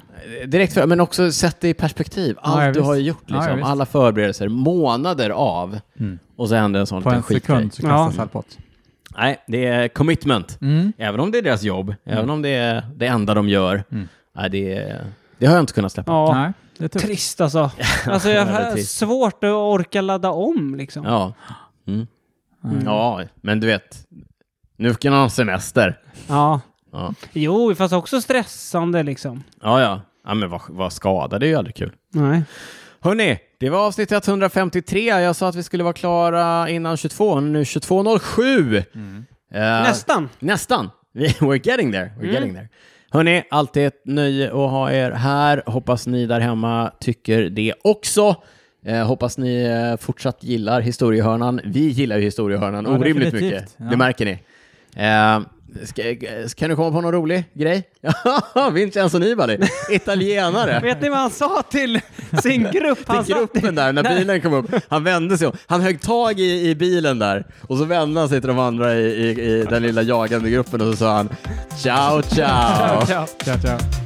Speaker 1: eh, direkt för, men också sätt det i perspektiv. Allt
Speaker 3: ja,
Speaker 1: du har
Speaker 3: visst.
Speaker 1: gjort,
Speaker 3: Ja,
Speaker 1: liksom,
Speaker 3: ja, visst.
Speaker 1: alla förberedelser, månader av,
Speaker 3: Mm.
Speaker 1: och så händer en sån
Speaker 3: På
Speaker 1: liten
Speaker 3: en
Speaker 1: skitgrej.
Speaker 3: sekund så kastas
Speaker 2: Ja.
Speaker 3: allt bort.
Speaker 1: Nej, det är commitment.
Speaker 3: Mm.
Speaker 1: Även om det är deras jobb, även om det är det enda de gör.
Speaker 3: Mm.
Speaker 1: Nej, det, är- det har jag inte kunnat släppa.
Speaker 2: Ja,
Speaker 3: Nej, det är tufft.
Speaker 2: trist alltså. Alltså jag
Speaker 1: Typ. Väldigt
Speaker 2: har
Speaker 1: trist.
Speaker 2: svårt att orka ladda om liksom.
Speaker 1: Ja. Mm. ja, men du vet, nu kan han ha semester.
Speaker 2: Ja.
Speaker 1: Ja,
Speaker 2: Jo, fast också stressande liksom.
Speaker 1: ja. ja. ja men vad, vad skada, det är ju aldrig kul.
Speaker 2: Nej.
Speaker 1: Hörni, det var avsnitt 153. Jag sa att vi skulle vara klara innan 22, nu 22.07. Eh,
Speaker 2: Nästan.
Speaker 1: Nästan. We're getting there. We're
Speaker 3: Mm.
Speaker 1: getting there. Hörni, alltid ett nöje att ha er här. Hoppas ni där hemma tycker det också. Eh, hoppas ni eh, fortsatt gillar historiehörnan. Vi gillar ju historiehörnan
Speaker 3: Ja,
Speaker 1: orimligt
Speaker 3: definitivt.
Speaker 1: mycket.
Speaker 3: Ja.
Speaker 1: Det märker ni. Eh, ska, eh, kan du komma på någon rolig grej? Vincenzo Nibali, italienare.
Speaker 2: Vet ni vad han sa till sin grupp? Han
Speaker 1: till
Speaker 2: satt-
Speaker 1: gruppen där när bilen kom upp. Han vände sig om. Han högg tag i, i bilen där och så vände han sig till de andra i, i, i den lilla jagande gruppen och så sa han ciao ciao.
Speaker 3: Ciao, ciao.